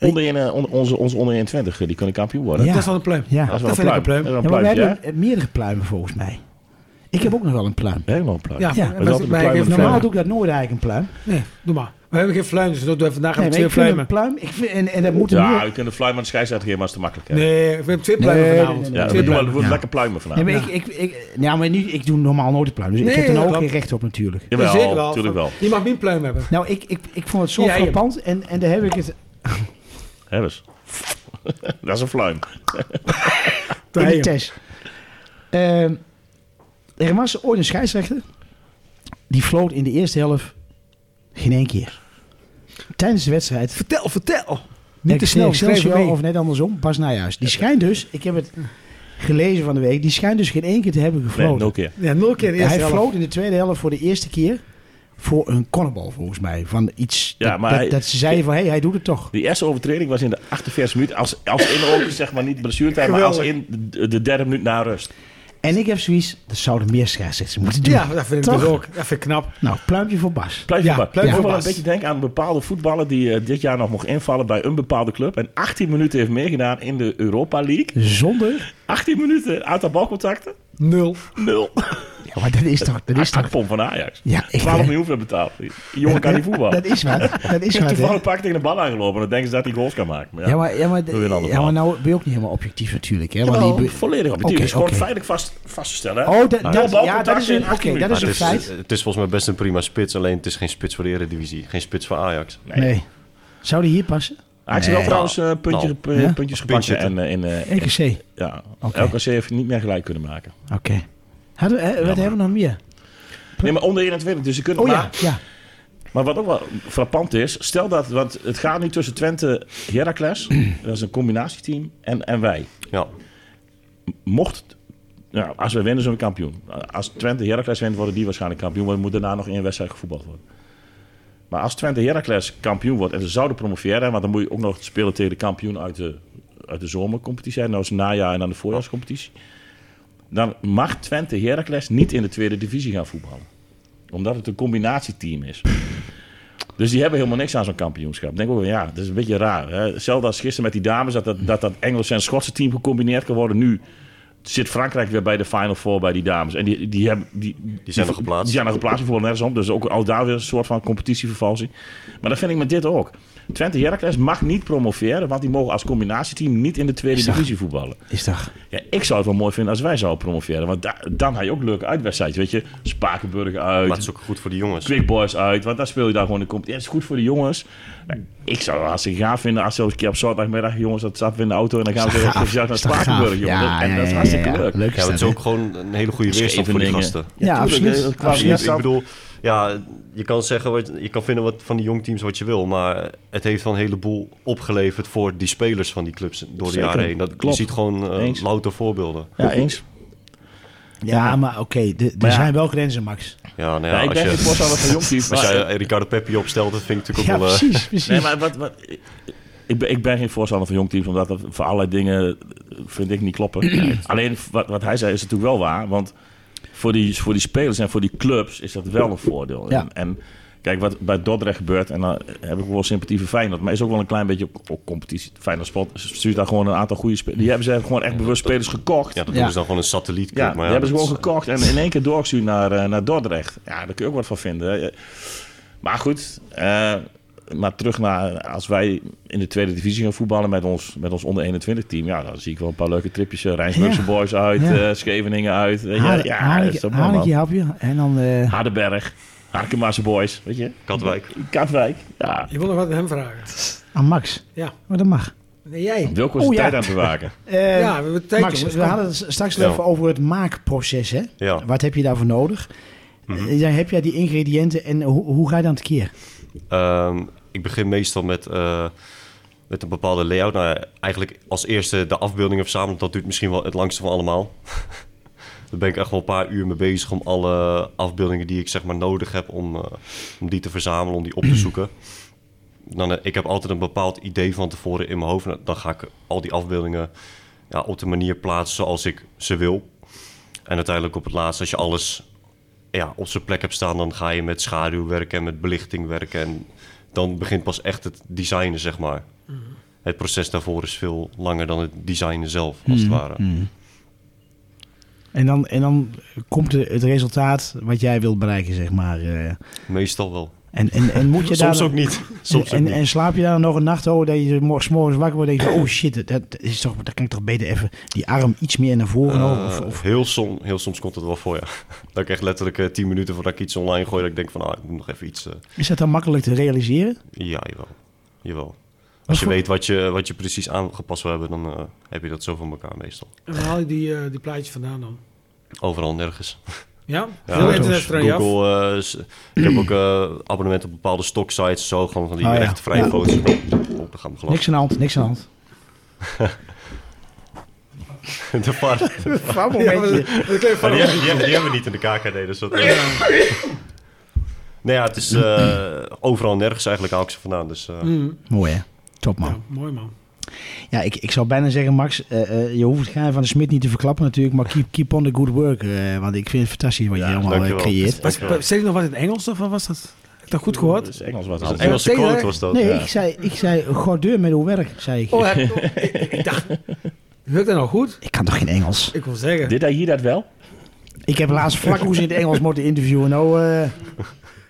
Onderin, eh, on- onze, onze onderin 20, eh, die kunnen kampioen worden. Ja. Dat is wel een pluim. Ja. Dat is wel Dat een vind ik een pluim. pluim. Dat is wel Ja, maar een we pluimpje, hebben eh, meerdere pluimen volgens mij. Ik heb ook nog wel een pluim. hè? Helemaal een pluim. Ja, Ja. maar- Dat is altijd een maar- pluim maar- en een Normaal pluim. doe ik dat nooit eigenlijk een pluim. Nee, doe maar. We hebben geen fluim, dus dat doen we vandaag Nee, hebben maar we ik twee vind pluimen. een pluim. Ik vind, en, en dat moet er Ja, meer- we kunnen de pluim aan de scheidsrechter geven, maar dat is te makkelijk. hè? Nee, we hebben twee pluimen Nee, vanavond. nee, nee, Ja, Twee we doen wel- we pluimen. doen lekker pluimen vandaag. Nee, maar ik, ik, ik, ja, maar nu, ik doe normaal nooit een pluim. Dus Nee, ik heb er nou dat ook geen klopt. recht op natuurlijk. Jawel, Zeker wel. natuurlijk wel. Je mag niet een pluim hebben. Nou, ik, ik, ik vond het zo Ja, je- frappant. En, en daar heb ik het Hebben ze. dus. [LAUGHS] Dat is een pluim. in Ja, de ja. test. Ehm, er was ooit een scheidsrechter. Die floot in de eerste helft geen één keer. Tijdens de wedstrijd. Vertel, vertel. Niet te Ik- snel, ik- schrijf Excelsior, mee. Of net andersom, Bas Nijhuis. Die schijnt dus, ik heb het gelezen van de week, die schijnt dus geen één keer te hebben Nee, gefloten. nul keer. Ja, nul keer in de hij eerste helft. floot in de tweede helft voor de eerste keer voor een cornerbal volgens mij. Van iets Ja, dat, maar dat, hij- dat ze zeiden van, hé, hey, hij doet het toch. Die eerste overtreding was in de 48 minuut. Als, als in ook, zeg maar niet blessuretijd, maar als Geweldig. in de, de derde minuut na rust. En ik heb zoiets, dat zouden meer scheidsrechters moeten doen. Ja, dat vind ik Toch? dus ook. Dat vind ik knap. Nou, pluimpje voor Bas. Blijf Ja, ja, blijf Ik moet wel verbaasd. een beetje denken aan een bepaalde voetballer die eh, dit jaar nog mocht invallen bij een bepaalde club. En 18 minuten heeft meegedaan in de Europa League. Zonder, 18 minuten, aantal balcontacten, Nul. nul. ja, maar dat is toch, dat [LAUGHS] is toch. Akpom van Ajax. Ja, ik- 12 miljoen voor betaald. Die jongen kan niet voetballen. Dat is wat, dat [LAUGHS] is wat. hè. Toevallig pak tegen de bal aangelopen en dan denken ze dat hij goals kan maken. Maar ja, Ja, maar, ja, maar, Doe weer een ander ja, maar verhaal. nou ben je ook niet helemaal objectief natuurlijk. Hè? Want Jawel, die, volledig objectief. Oké, Het is gewoon oké. feitelijk vast, vast te stellen. hè? Oh, dat- Nul dat- ja, balcontacten dat is een- in 18 oké, minuten. dat is Maar een het, is, feit. het is volgens mij best een prima spits. Alleen het is geen spits voor de Eredivisie. Geen spits voor Ajax. nee. Zou die hier passen? Ajax heeft wel trouwens eh, puntje, Nou, pu- ja. puntjes Puntje gepakt. En, eh, in, eh, EKC. ja, Oké. elke C heeft niet meer gelijk kunnen maken. Oké. Hadden we- eh, Wat hebben we nog meer? Nee, maar onder 21. Dus ze kunnen Oh ja, maar, ja. maar wat ook wel frappant is, stel dat, want het gaat nu tussen Twente Heracles, dat is een combinatieteam, en, en wij. Ja. Mocht, nou, als we winnen, zijn we kampioen. Als Twente Heracles wint, worden die waarschijnlijk kampioen, maar er moet daarna nog één wedstrijd gevoetbald worden. Maar als Twente Heracles kampioen wordt en ze zouden promoveren, want dan moet je ook nog spelen tegen de kampioen uit de, uit de zomercompetitie, nou is het najaar en dan de voorjaarscompetitie, dan mag Twente Heracles niet in de tweede divisie gaan voetballen. Omdat het een combinatieteam is. Dus die hebben helemaal niks aan zo'n kampioenschap. Ik Denk ook, ja, dat is een beetje raar. Hè? Hetzelfde als gisteren met die dames, dat dat, dat, dat Engelse en Schotse team gecombineerd kan worden. Nu zit Frankrijk weer bij de Final Four bij die dames. En die, die, hebben, die, Die zijn nog geplaatst. Die zijn nog geplaatst, voor nergens om. Dus ook al daar weer een soort van competitievervalsing. Maar dat vind ik met dit ook. Twente Heracles mag niet promoveren, want die mogen als combinatieteam niet in de tweede divisie voetballen. Is dat? Ja, ik zou het wel mooi vinden als wij zouden promoveren. Want da- dan had je ook leuke uitwedstrijd. Weet je, Spakenburg Maar het uit, is ook goed voor de jongens. Quick Boys uit. Want dan speel je daar gewoon de competitie. Ja, het is goed voor de jongens. Nou, ik zou het hartstikke gaaf vinden als ze een keer op zaterdagmiddag... jongens, dat stappen we in de auto en dan gaan we gaaf. even naar Is dat gaaf? Spakenburg. jongen. Ja, Dat- en ja, dat is ja, hartstikke ja, ja. leuk. Leuk Ja, maar het is dat, ook gewoon een hele goede weerstand voor die Scheveningen. gasten. Ja, tuurlijk, absoluut. hè, dat qua Absoluut. Ik weerstand- bedoel, ja, je kan zeggen, wat, je kan vinden wat van die jong teams wat je wil, maar het heeft wel een heleboel opgeleverd voor die spelers van die clubs door de Zeker. jaren heen. Dat, je Klopt. ziet gewoon eh, Eens. louter voorbeelden. Ja, eens. Ja, maar oké, de- er ja. zijn wel grenzen, Max. Ja, nou ja, Ja, ik ben geen als je, [LAUGHS] voorstander van jong team. als maar- jij Ricardo Peppi opstelt, dat vind ik natuurlijk Ja, ook wel... eh, precies, precies. Nee, maar wat, wat, ik, ben, ik ben geen voorstander van jong teams, omdat dat voor allerlei dingen eh, vind ik niet kloppen. [CLEARS THROAT] Alleen wat, wat hij zei is natuurlijk wel waar, want voor die, voor die spelers en voor die clubs is dat wel een voordeel. Ja. En, en kijk, wat bij Dordrecht gebeurt, en dan heb ik wel sympathie voor Feyenoord, maar is ook wel een klein beetje op, op competitie. Feyenoord spot, stuurt daar gewoon een aantal goede spelers. Die hebben ze gewoon echt bewust spelers gekocht. Ja, dat Ja. doen ze dan gewoon een satellietclub. Ja, maar die hebben ze dat gewoon is- gekocht en in één keer doorgestuurd naar, eh, naar Dordrecht. Ja, daar kun je ook wat van vinden. hè. Maar goed, eh, maar terug naar als wij in de tweede divisie gaan voetballen met ons, met ons onder 21 team. Ja, dan zie ik wel een paar leuke tripjes. eh, Rijnsburgse Ja. Boys uit, Ja. eh, Scheveningen uit. Eh, Hane- ja, ja, dat is Haneke- toch mooi, man. Haneke hapje en dan... eh, Hardenberg, Harkemaarse Boys, weet je. Katwijk. Katwijk, ja. Je wil nog wat aan hem vragen. aan Max. Ja. Maar dat mag. Nee, jij. Wilco is de Oh, ja. tijd aan het bewaken. Eh, Ja, we hebben tijd, Max, jongens. we Kom. hadden het straks Ja. even over het maakproces. Hè? Ja. Mhm. Wat heb je daarvoor nodig? Eh, dan heb jij die ingrediënten en hoe, hoe ga je dan tekeer? Ehm, ik begin meestal met, eh, met een bepaalde layout. Nou, ja, eigenlijk als eerste de afbeeldingen verzamelen. Dat duurt misschien wel het langste van allemaal. [LAUGHS] Daar ben ik echt wel een paar uur mee bezig om alle afbeeldingen die ik zeg maar nodig heb om, eh, om die te verzamelen, om die op te zoeken. Dan, eh, ik heb altijd een bepaald idee van tevoren in mijn hoofd. Nou, Dan ga ik al die afbeeldingen ja, op de manier plaatsen zoals ik ze wil. En uiteindelijk op het laatst, als je alles ja, op zijn plek hebt staan, dan ga je met schaduw werken en met belichting werken. En dan begint pas echt het designen, zeg maar. Het proces daarvoor is veel langer dan het designen zelf, als Mhm. het ware. En dan, en dan komt de- het resultaat wat jij wilt bereiken, zeg maar. eh. Meestal wel. en, en, en [LAUGHS] moet je daar... Soms ook [LAUGHS] niet. Soms en, ook en, niet. en slaap je daar dan nog een nacht over dat je morgens, morgens wakker wordt en denk je, oh shit, dat, dat is toch, dat kan ik toch beter even die arm iets meer naar voren houden? Oh, Of, Eh, of, heel, som, heel soms komt het wel voor, ja. [LAUGHS] Dat ik echt letterlijk eh, 10 minuten voordat ik iets online gooi, dat ik denk van, ah, ik moet nog even iets... eh, is dat dan makkelijk te realiseren? ja, jawel. Jawel. Als je voor- weet wat je, wat je precies aangepast wil hebben, dan eh, heb je dat zo van elkaar meestal. En waar haal je die, eh, die plaatjes vandaan dan? Overal nergens. Ja? Ja, Veel dus internet vraag je af. Google, eh, s- ik heb ook eh abonnement op bepaalde stocksites, zo gewoon van die Oh, ja. echt vrij Ja. foto's. Oh, daar gaan we glas. Niks aan de hand, niks aan de hand. [LAUGHS] De VAR. Ja, maar dat- dat kun je Maar van- die, hebben- die hebben- die hebben we niet in de KKD, dus dat... eh. Nou ja, het is eh, overal nergens eigenlijk haal ik ze vandaan, dus... eh, Mooi hè? Top man. Ja, mooi man. Ja, ik, ik zou bijna zeggen, Max, eh, eh, je hoeft het geheim van de smid niet te verklappen natuurlijk, maar keep, keep on the good work. eh, want ik vind het fantastisch wat je allemaal eh, dankjewel. creëert. Was, Dankjewel. zei je nog wat in het Engels of wat was dat? Heb ik dat goed gehoord? Dat is Engels wat Dat is een Nou, anders. Engelse Ja, quote tegen- was dat. Nee, ja. ik zei, ik zei gordeur met uw werk, zei ik. Oh, [LAUGHS] heb, oh, ik, ik dacht... Hoor ik dat nou goed? Ik kan toch geen Engels? Ik wil zeggen... Did hij eh, hier dat wel? Ik heb laatst Flakhoes in het Engels moeten interviewen. Nou, eh,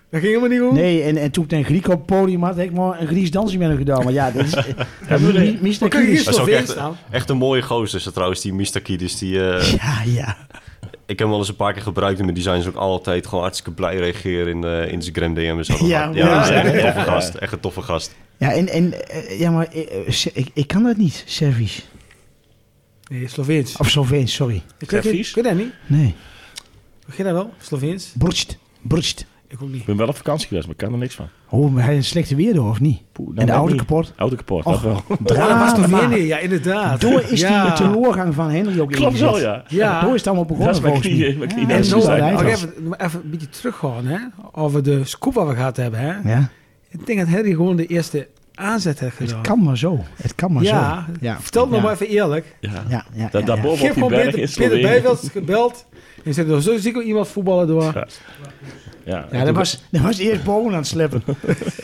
Dat ging helemaal niet goed? nee, en, en toen ik een Griek op het podium had, heb ik maar een Grieks dansje met hem gedaan. Maar ja, dat is... [LAUGHS] eh, dat is mi- Mr. Maar kun je Grieks. Dat is ook Sloveen echt, nou. staan. echt een mooie gozer is dat trouwens, die Mistakidis. Die, eh, Ja, ja. ik heb hem wel eens een paar keer gebruikt in mijn designs. Ook altijd gewoon hartstikke blij reageren in eh Instagram DM's. Ja, Ja, ja, ja. dat is echt een toffe gast. Echt een toffe gast. Ja, en, en, eh, ja maar eh, eh, se- ik, ik kan dat niet, Servisch. Nee, Sloveens. Of Sloveens, sorry. Kun je- Servies? kun je dat niet? Nee. Kun je dat wel? Sloveens? Brust, brust. Ik ook niet. Ik ben wel op vakantie geweest, maar ik kan er niks van. Oh, maar hij is slechte weer door, of niet? Poeh, nou en de net auto niet. kapot. Auto kapot, dat wel. Oh, dat was Drama. Slovenië, ja, inderdaad. Door is ja. die teleurgang van Henry ook Klopt ingezet. wel, ja. Ja. Door is het allemaal begonnen Dat is mijn volgens mij. knieën, mijn knieën. Ja, En dat En is zo, zo hoe het nog eruit eruit was. even, maar even een beetje teruggaan, hè? Over de scoop waar we gehad hebben, hè? Ja. Ik denk dat Harry gewoon de eerste aanzet heeft gedaan. Het kan maar zo. Het kan maar ja, zo. vertel het ja. nog maar even eerlijk. Ja. Ja, ja, Da- ja, ja. daarboven Ik heb op die gewoon berg Peter, is Peter Slovenië. Bijveld gebeld. En zei, zo zie ik wel iemand voetballen door. Ja. Ja, Ja, dat was, dat was eerst boven aan het sleppen.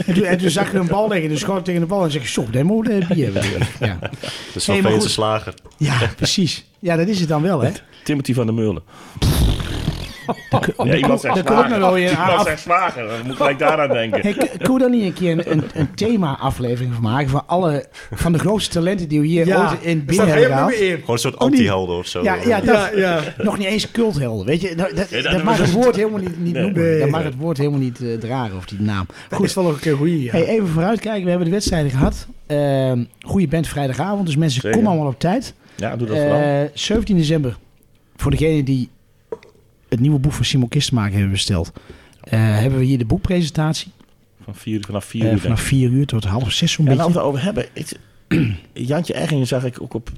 en, toen, en toen zag je een bal liggen, dus schoot tegen de bal en zeg je, "Zo, dat moet eh, bier hebben." Ja. Dat is Hey, wel maar Veense goed. slager. ja, precies. Ja, dat is het dan wel, hè? Timothy van der Meulen. Ja, iemand zegt dat Oh, komt ook nog wel slager. weer Iemand af. zegt slager. Dan moet ik gelijk daaraan [LAUGHS] denken. Hey, k- kunnen we daar niet een keer een, een, een thema-aflevering van maken? Van alle van de grootste talenten die we hier ooit in staat binnen hebben helemaal gehaald. niet meer in. Gewoon een soort Oh, die- anti-helden of zo. Ja, ja, dat, Ja, ja. nog niet eens culthelden, weet je. Dat, dat, Nee, dat dat- mag dat- het woord helemaal niet, niet Nee. noemen. Nee, dat nee. mag het woord helemaal niet eh, dragen, of die naam. Goed, is wel nog een keer goeie. Ja. Hey, even vooruitkijken, we hebben de wedstrijden gehad. Ehm goede band vrijdagavond, dus mensen, Zeker. kom allemaal op tijd. Ja, doe dat vooral. Eh 17 december, voor degenen die het nieuwe boek van Simon Kistenmaker hebben besteld, eh, hebben we hier de boekpresentatie. Van vier, vanaf vier Eh uur. denk vanaf ik. 4 uur tot half 6 zo'n Ja, beetje. nou, laten we het over hebben. Ik, [CLEARS THROAT] Jantje Eggingen zag ik ook op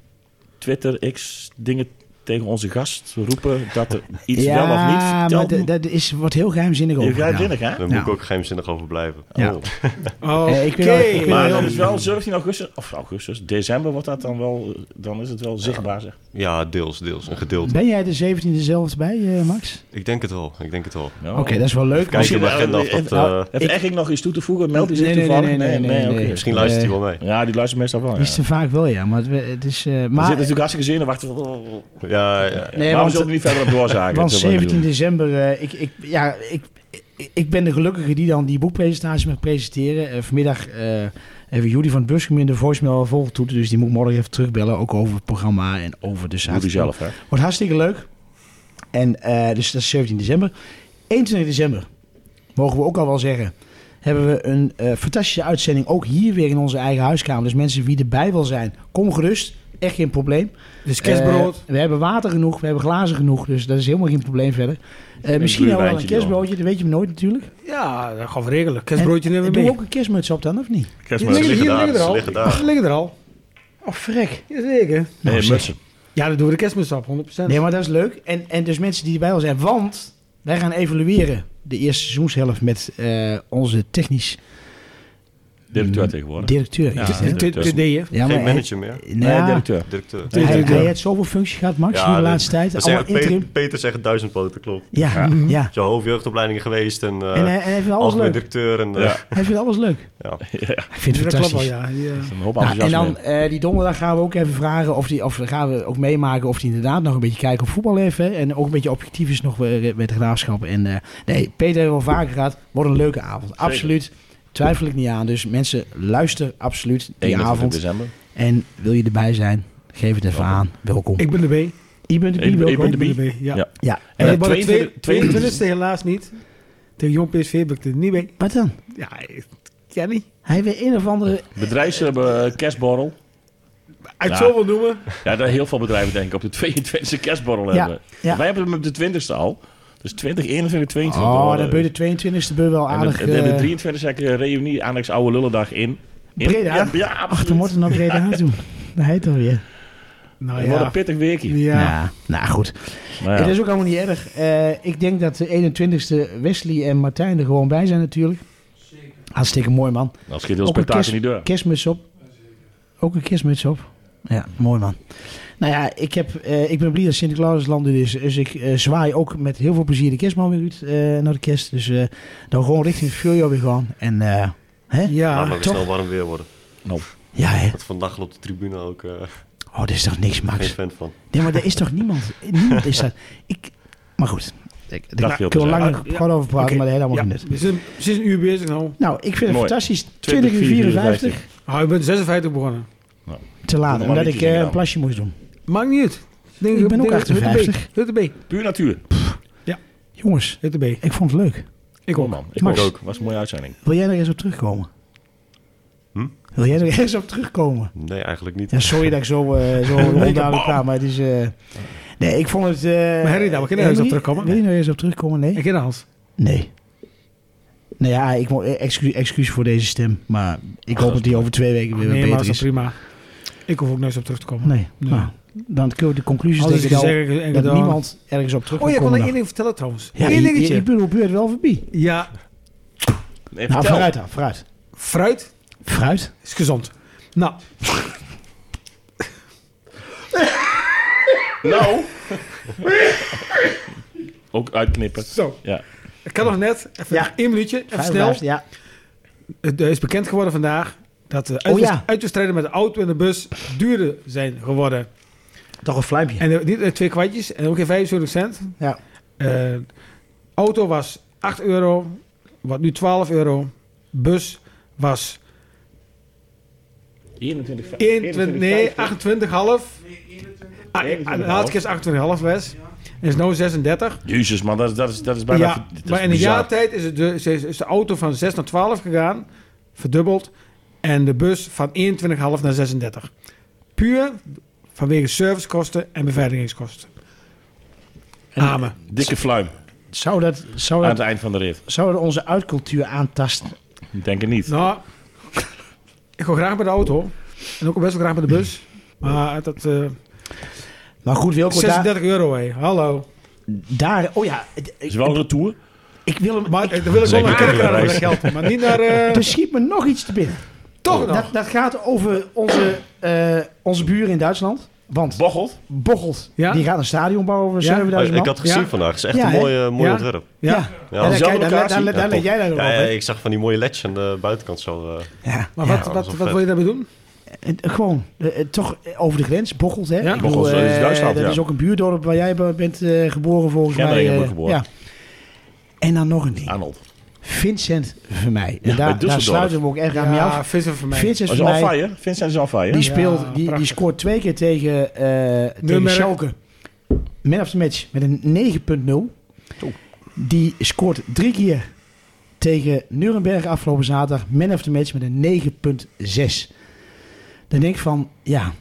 Twitter X dingen tegen onze gast roepen dat er iets ja, wel of niet maar verteld dat- dat is wat heel geheimzinnig over. Je gaat binnen, hè? Daar moet ik ook geheimzinnig over blijven. Ja. Oh. Oh, Eh, ik wil- ik wil- Maar Ja. dan is wel 17 augustus, of augustus, december wordt dat dan wel, eh, dan is het wel zichtbaar, zeg. Ja, deels, deels. Een gedeelte. Ben jij de 17e zelf bij, eh, Max? Ik denk het wel, ik denk het wel. Nou, Oké, dat is wel leuk. Kijk in de agenda of dat... eh, Heeft Egging nog iets toe te voegen? Meldt hij zich Nee, nee, toevallig? nee, nee, nee, nee, oké. nee. Misschien luistert hij Eh, wel mee. Ja, die luistert meestal wel, ja. Die is te vaak wel, ja. Maar het, het is, eh, maar, Er zit natuurlijk hartstikke zin in, wachten. Ja, ja. nee, maar we want, zullen er niet verder op doorzaken. want dat wil ik 17 doen. december, eh, ik, ik, ja, ik, ik- ik ben de gelukkige die dan die boekpresentatie mag presenteren. Eh, vanmiddag eh hebben jullie van het Buscum in de voicemail volgt toe. Dus die moet ik morgen even terugbellen, ook over het programma en over de zaak. Doe die zelf, hè. Wordt hartstikke leuk. En eh, dus dat is 17 december. 21 december, mogen we ook al wel zeggen, hebben we een eh, fantastische uitzending. Ook hier weer in onze eigen huiskamer. Dus mensen wie erbij wil zijn, kom gerust. Echt geen probleem. dus kerstbrood. Eh, we hebben water genoeg, we hebben glazen genoeg. Dus dat is helemaal geen probleem verder. Eh, misschien hebben we wel een gluurwijntje kerstbroodje, dat weet je nooit natuurlijk. Eh, ja, dat gaan we regelen. Kerstbroodje En- nemen we Eh, Doe mee. ook een kerstmuts op dan, of niet? Die liggen, liggen hier daar, liggen er ze al. liggen daar. Ze liggen er al. Oh, frek. Jazeker. Nou, Hey, zeg. Mutsen. Ja, dat doen we de kerstmis op, 100%. Nee, maar dat is leuk. En, en dus mensen die erbij al zijn. Want wij gaan evalueren de eerste seizoenshelft met eh, onze technisch Directeur tegenwoordig. directeur. Ja, Is het, hè? ja. Dit- dit- dit deed je. Ja, Geen hij- manager meer. nou ja, Nee, directeur. Directeur. Hij, hij, Directeur. heeft zoveel functies gehad, Max, Ja, in de dat- laatste tijd. Dat Allemaal zeggen, interim. Peter, Peter zegt duizend poten, klopt. Ja, mm, ja. Zo hoofdjeugdopleidingen geweest en, eh En hij, en hij vindt alles algemeen leuk. directeur. En, eh, Ja. Hij vindt alles leuk. ja. Hij vindt [LAUGHS] Ja, het dat klopt wel, fantastisch. ja. Die, eh, Een hoop Nou, en enthousiasme. dan eh, die donderdag gaan we ook even vragen of, die, of gaan we ook meemaken of die inderdaad nog een beetje kijken op voetbal even. hè. En ook een beetje objectief is nog weer met de graafschap. En eh, nee, Peter heeft wel vaker gehad. Wordt een leuke avond. Absoluut. Twijfel ik niet aan. Dus mensen, luister absoluut die 21 avond. december. En wil je erbij zijn? Geef het even aan. Welkom. Ik ben erbij. Ik ben de Ik- ik Bie, welkom. ben de Bie. Ik ben erbij, ja. Ja. Ja. Eh, En En dan ik ben de 22 22 helaas niet. Tegen Jong PSV ben ik er niet bij. Wat dan? Ja, ik ken niet. Hij weer een of Oh, andere... Bedrijfs hebben eh, kerstborrel. Uit Ja. zo wil noemen. Ja, daar heel veel bedrijven denk ik op de [LAUGHS] 22e kerstborrel Ja, hebben. ja. Wij hebben hem op de 20e al. Dus 20, 21, 22. Oh, dan dan ben je de 22e ben je wel En aardig... de, en de eh, 23 heb ik een reunie aan de oude lullendag in. in Breda? Ja, ja Ach, dan absoluut. moet er nog reden aan [LAUGHS] doen. Dat heet dan weer. Nou Het wordt een ja. pittig weekje. Ja. Nou, nou goed. Maar ja, Het is ook allemaal niet erg. Eh, ik denk dat de 21ste Wesley en Martijn er gewoon bij zijn natuurlijk. Hartstikke mooi man. dan schiet ook heel een spektakel kerst- in die deur. Kerstmuts op. Ook een kerstmuts op. Ja, mooi man. Nou ja, ik, heb, eh, ik ben blij dat Sinterklaasland er is. Dus ik eh, zwaai ook met heel veel plezier de kerstman weer uit eh, naar de kerst. Dus eh, dan gewoon richting Furio weer gaan. En eh, hè? Laat Ja. maar weer toch? snel warm weer worden. Nou, Ja, hè? Want vandaag loopt de tribune ook eh, [LAUGHS] Oh, dit is toch niks, geen Max? fan van. Nee, maar er is toch niemand? Niemand is dat. Ik, maar goed. Ik, daar Dat wil kunnen we te lang zeggen. nog gewoon over praten, Oké, maar dat heeft allemaal Ja, geen we nut. zijn we zijn een uur bezig nou. Nou, ik vind het Mooi. fantastisch. 20 20 uur 54. 54 Ah, ik ben 56 begonnen. te laat. Nog Omdat maar ik liedjes eh, in een gaan. plasje moest doen. Maakt niet uit. Denk, Ik ben ook denk- 58. Hutte B. Hutte B. Ah, Puur natuur. Jongens, Hutte B. ik vond het leuk. Ik Kom ook. man, ik Max. ook. Was een mooie uitzending. Wil jij er eens op terugkomen? Hm? Wil jij er [LAUGHS] eens op terugkomen? Nee, eigenlijk niet. Ja, sorry dat ik zo, eh [LAUGHS] zo onduidelijk praat, maar het is... eh, nee, ik vond het... eh maar Harry, daar, we kunnen er eens op terugkomen. Wil je nou eens op terugkomen? Nee? Ik ken Hans. Nee. Nou ja, ik mo- eh, excu- excuus voor deze stem, maar ik hoop dat die over twee weken weer wat Nee, maar dat beter is is. prima. Ik hoef ook nooit op terug te komen. Dus Nee, Nee. Nou, dan kunnen we de conclusies Als denk ik ik al, zeg, ik- ik dat dan- niemand ergens op terug Oh, wil je kon komen dan. nog één ding vertellen trouwens. Ja, Eén ik, ik, dingetje. ik bedoel, buurt wel voorbij. Ja, Nee, Nou, vertel. vooruit dan, vooruit. fruit Fruit. is gezond. Nou, Nou. [LAUGHS] Ook uitknippen. zo. Ja. Ik kan nog net, even Ja. één minuutje, even Fruit, snel. fruit, ja. Het eh, is bekend geworden vandaag dat eh, de Oh, uitwis- ja. uitwedstrijden met de auto en de bus duurder zijn geworden. Toch een fluimpje. En eh, niet eh, twee kwartjes en ook geen 75 cent. Ja. Eh, auto was 8 euro, wat nu 12 euro. Bus was 21. 21, nee, 28,5. Ah, eh, De laatste keer is 28,5 was. En is nu 36. Jezus, man, dat, is- dat, is, dat is bijna. Ja, dat is maar in een bizar. jaar tijd is, het de, is- is de auto van 6 naar 12 gegaan, verdubbeld. En de bus van 21,5 naar 36. Puur vanwege servicekosten en beveiligingskosten. Amen. Dikke fluim Zou dat, zou aan dat, het eind van de rit. zou dat onze uitcultuur aantasten? Ik denk het niet. Nou, ik ga graag met de auto. En ook best wel graag met de bus. Maar dat eh, Maar goed, Wilco, daar, 36 euro, hé. Hallo. daar... Oh ja, het- Is ik, wel een retour. ik wil hem... Maar eh, dan wil ik wel Zeker naar een Kerkrade met reis. geld. Maar niet naar... eh, Er schiet me nog iets te binnen. toch nog. Dat, dat gaat over onze, eh, onze buren in Duitsland. Want Bochelt. Bocholt, Ja? die gaat een stadion bouwen voor Ja? 7000 Oh, man. Oh, ik had het gezien Ja. vandaag. Het is echt Ja, een hè? mooi, eh, mooi Ja. ontwerp. Ja. Ja, Ja. daar, Dezelfde kijk, daar, daar, locatie. daar- daar Ja, let jij dan op. Ja, ja, hè? ik zag van die mooie ledge aan de buitenkant zo. eh, Ja. Maar Ja. wat, dat wat, is wat, wel wil je daarmee doen? En, eh, gewoon, eh, eh, toch eh, over de grens, Bocholt, hè? Ja. Ik bedoel, Bocholt, dat is eh, Duitsland, dat ja. is ook een buurdorp waar jij be- bent eh, geboren volgens mij. Gendringen eh, wordt geboren. Ja. En dan nog een ding. Arnold. Vincent Vermeij. En Ja, bij daar, daar Düsseldorf. sluiten we hem ook echt aan mee Ja, af. vissen voor mij. Vincent Was on Vermeij, fire? Vincent is on fire. die, Ja. speelt, Ja, die, die prachtig. scoort twee keer tegen, eh tegen Nürnberg. Schalke. Man of the match met een 9.0. Oeh. Die scoort drie keer tegen Nuremberg afgelopen zaterdag. Man of the match met een 9.6. Dan denk ik van, ja...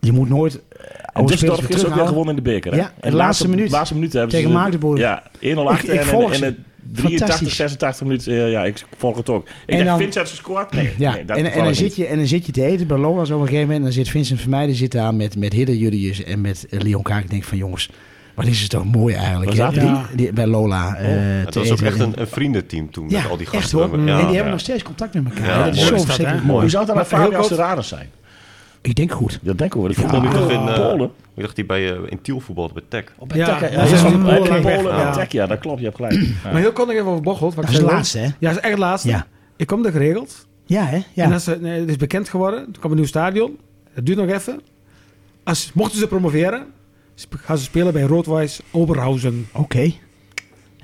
Je moet nooit eh, En oude spelers Düsseldorf weer is ook weer terughouden. gewonnen in de beker. Hè? Ja, En de laatste minuut. laatste minuut hebben Tegen ze de- Magdeburg. Ja, 1-0 achter Ik- ik volg en, ze. en, en 83, Fantastisch. 86 minuten. eh, ja, ik volg het ook. Ik En denk, dan- Vincent gescoord? Nee, Ja, nee dat en, en, toevallig dan niet. zit je, en dan zit je te eten bij Lolas op een gegeven moment. En dan zit Vincent Vermeijden zit daar met, met Hidde Julius en met eh, Leon Kaak. Ik denk van jongens, wat is het toch mooi eigenlijk. Waar hè? zaten Die- die? die- bij Lola eh, te het was ook eten. echt een, een vriendenteam toen ja, met al die echt gasten. hoor. En die Ja, hebben ja. nog steeds contact met elkaar. Ja, dat is mooi zo is dat, verschrikkelijk hè? mooi. Hoe zou het dan Maar aan Fabian heel kort- Serranus zijn? Ik denk goed. Dat denken we. Dat Ik vond voetbal hem toch in, eh, Polen. Ik dacht die bij eh, in Tiel voetbalde bij Tech. Ja, Tech, dat is ja, een Polen, Polen- Polen en Ja. Tech, eh, ja, dat klopt. Je hebt gelijk. Maar heel kort nog even over Bocholt. Dat is de laatste, hè? Ja, dat is echt het laatste. Ja. Ik kom er geregeld. Ja, hè? En Ja. als, ze- nee, het is bekend geworden. Er komt een nieuw stadion. Dat duurt nog even. Als, mochten ze promoveren, sp- gaan ze spelen bij Roodwijs Oberhausen. Oké. Ja,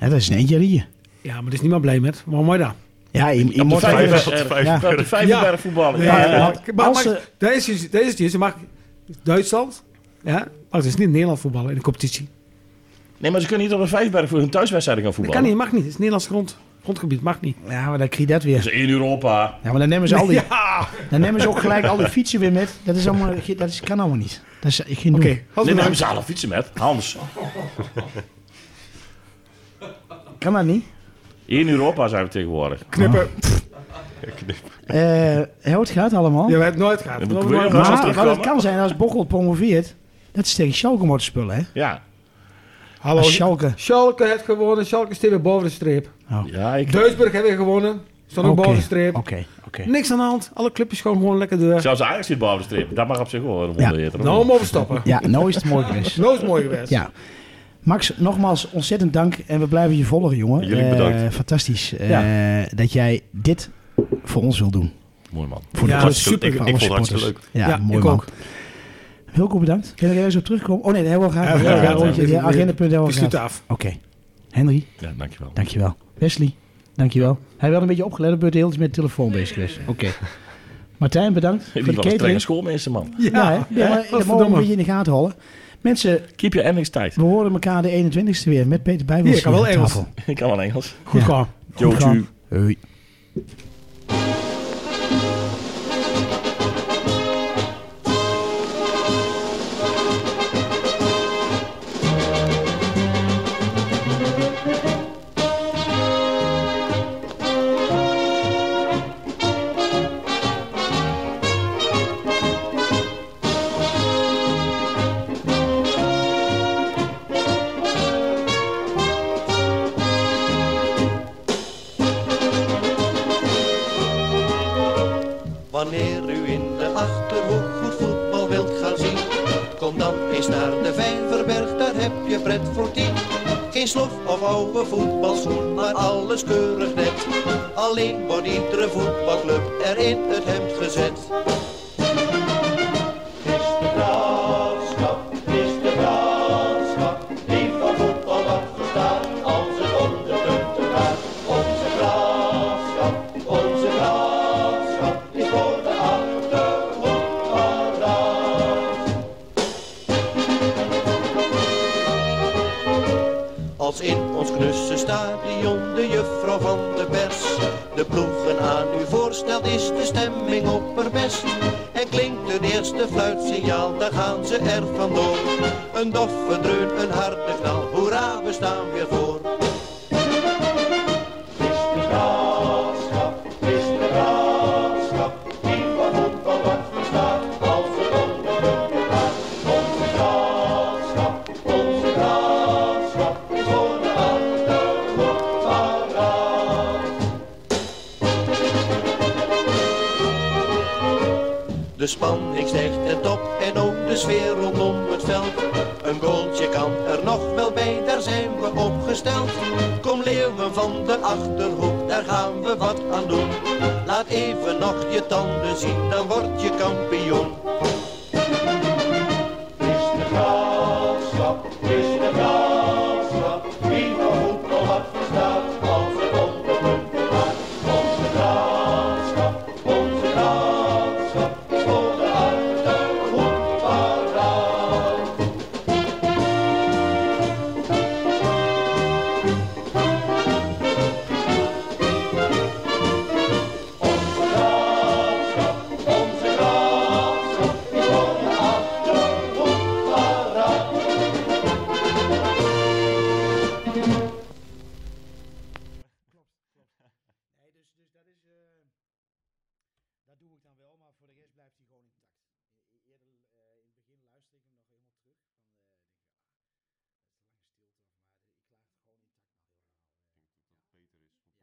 dat is een eentje hier. Ja, maar daar is niemand blij met. Maar mooi daar. Ja, je, je moet vijf- eigenlijk- op de vijf- Ja. op de Vijverberg voetballen. Ja, Ja, ja, ja. want ja. Maar- als maar- ze- daar is hij- daar is hij. Ze mag Duitsland. Ja, maar het is niet Nederland voetballen in de competitie. Nee, maar ze kunnen niet op de Vijverberg voor hun thuiswedstrijden gaan Dat voetballen. kan niet, mag niet. Het is Nederlands grond, grondgebied, mag niet. Ja, maar dan krijg je dat weer. Dus in Europa. Ja, maar dan nemen ze al die... [LAUGHS] Ja, Dan nemen ze ook gelijk al die fietsen weer met. Dat is allemaal... Dat is, kan allemaal niet. Dat is, ik geen oké. doen. Hans Nee, daar hebben bedankt. ze alle fietsen met. Hans. Kan dat niet? In Europa zijn we tegenwoordig. Knippen. Eh, hè, het gaat allemaal. Je weet nooit gaat. Ja, Nooit, maar nooit kun je gaat. nog- maar wat het kan zijn als Bocholt promoveert, dat is tegen Schalke moeten spullen, hè? Ja. Hallo. Als Schalke. Schalke heeft gewonnen. Schalke staat weer boven de streep. Ja, ik... Duisburg hebben we gewonnen. Stond ook Oké, boven de streep. Oké, oké. Niks aan de hand. Alle clubjes gewoon, gewoon lekker door. Zelfs Ajax zit boven de streep. Dat mag op zich wel een wonder heten, of Nou, niet? om overstappen. Ja, nou is het mooi [LAUGHS] geweest. Nou is het mooi geweest. Ja. Max, nogmaals ontzettend dank en we blijven je volgen, jongen. Jullie Eh, bedankt. fantastisch eh, dat jij dit voor ons wil doen. Mooi man. Voor Ja, de club, hartstikke- ik- voor ik alle vond het hartstikke supporters. Ja, mooi ik man. ook. Wilco, bedankt. Kun je er eens op terugkomen? Oh nee, dat hebben we al Ja, gehad. we Ja, hebben ja, al gehad. rondje, ja, agenda.nl We gehad. sluiten Oké. af. Henry, Ja, dankjewel. dankjewel. Wesley, dankjewel. Hij werd een beetje opgelet, beurt heel iets met de telefoon bezig geweest. Oké. Martijn, bedankt voor Die de was een strenge catering. schoolmeester, man. Ja, hè? ja, maar dat mogen we een verdomme. beetje in de gaten houden. Mensen, Keep je Engels tijd. we horen elkaar de 21ste weer met Peter Bijbels Hier, ik kan wel hier aan Engels. tafel. [LAUGHS] Ik kan wel Engels. Goed Ja. gewoon. Goed Joe, gedaan. tjoe. Hoi. Thank Wanneer u in de Achterhoek goed voetbal wilt gaan zien, kom dan eens naar de Vijverberg, daar heb je pret voor tien. Geen slof of oude voetbalschoen, maar alles keurig net. Alleen wordt iedere voetbalclub er in het hemd gezet. Het is de graafschap, het is de graafschap, die van voetbal wat verstaat, als het om de punten gaat. Onze graafschap, onze graafschap, is voor de achterhoek paraat. Als in ons knusse stadion de juffrouw van de pers De ploegen aan u voorstelt is de stemming opperbest En klinkt het eerste fluitsignaal, daar gaan ze er vandoor Een doffe dreun, een harde knal, hoera we staan weer voor is de graafschap, is de graafschap, die van voetbal wat verstaat, als het om de punten gaat. Onze graafschap, onze graafschap, is voor de achterhoek paraat. De spanning stijgt ten top en ook de sfeer rondom het veld. Een goaltje kan er nog wel bij, daar zijn we opgesteld. Kom leeuwen van de Achterhoek, daar gaan we wat aan doen. Laat even nog je tanden zien, dan word je kampioen. Is de graafschap, is de graafschap, wie van voetbal wat verstaat, als het om de punten gaat. Onze graafschap, onze graafschap, is voor de achterhoek paraat. Onze graafschap, onze graafschap, is voor de achterhoek paraat. Nee, dus, dus dat is. eh, dat doe ik dan wel, maar voor de rest blijft hij gewoon intact. E- Eerder eh, in het begin luisterde ik hem nog helemaal terug. Van, eh, denk ik,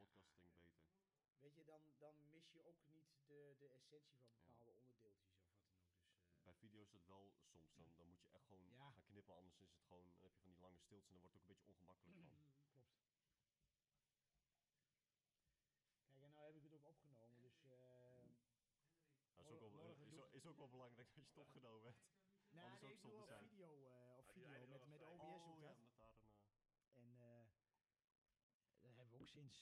ah, dat is te lange stilte, of maar ik klaag gewoon intact. Weet je, dan, dan mis je ook niet de, de essentie van bepaalde onderdeeltjes of wat dan ook. Dus, eh, Bij video is dat wel soms, dan, dan moet je echt gewoon Ja. gaan knippen, anders is het gewoon, dan heb je van die lange stiltes en dan wordt het ook een beetje ongemakkelijk van. Kijk, en nou heb ik het ook opgenomen, dus. eh, Dat is, ook wel, Morgen is, doe- ook- is ook wel belangrijk dat je het opgenomen hebt. Nou, Anders nee, ook ik doe zonde wel zijn. video, eh, of video met, met OBS oh, doe ik ja, dat. omdat daar een, eh, En eh, dat hebben we ook sinds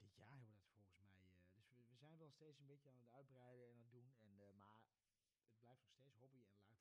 dit jaar hebben we dat volgens mij. eh, dus we, we zijn wel steeds een beetje aan het uitbreiden en aan het doen. En, eh, maar het blijft nog steeds hobby en luisteren.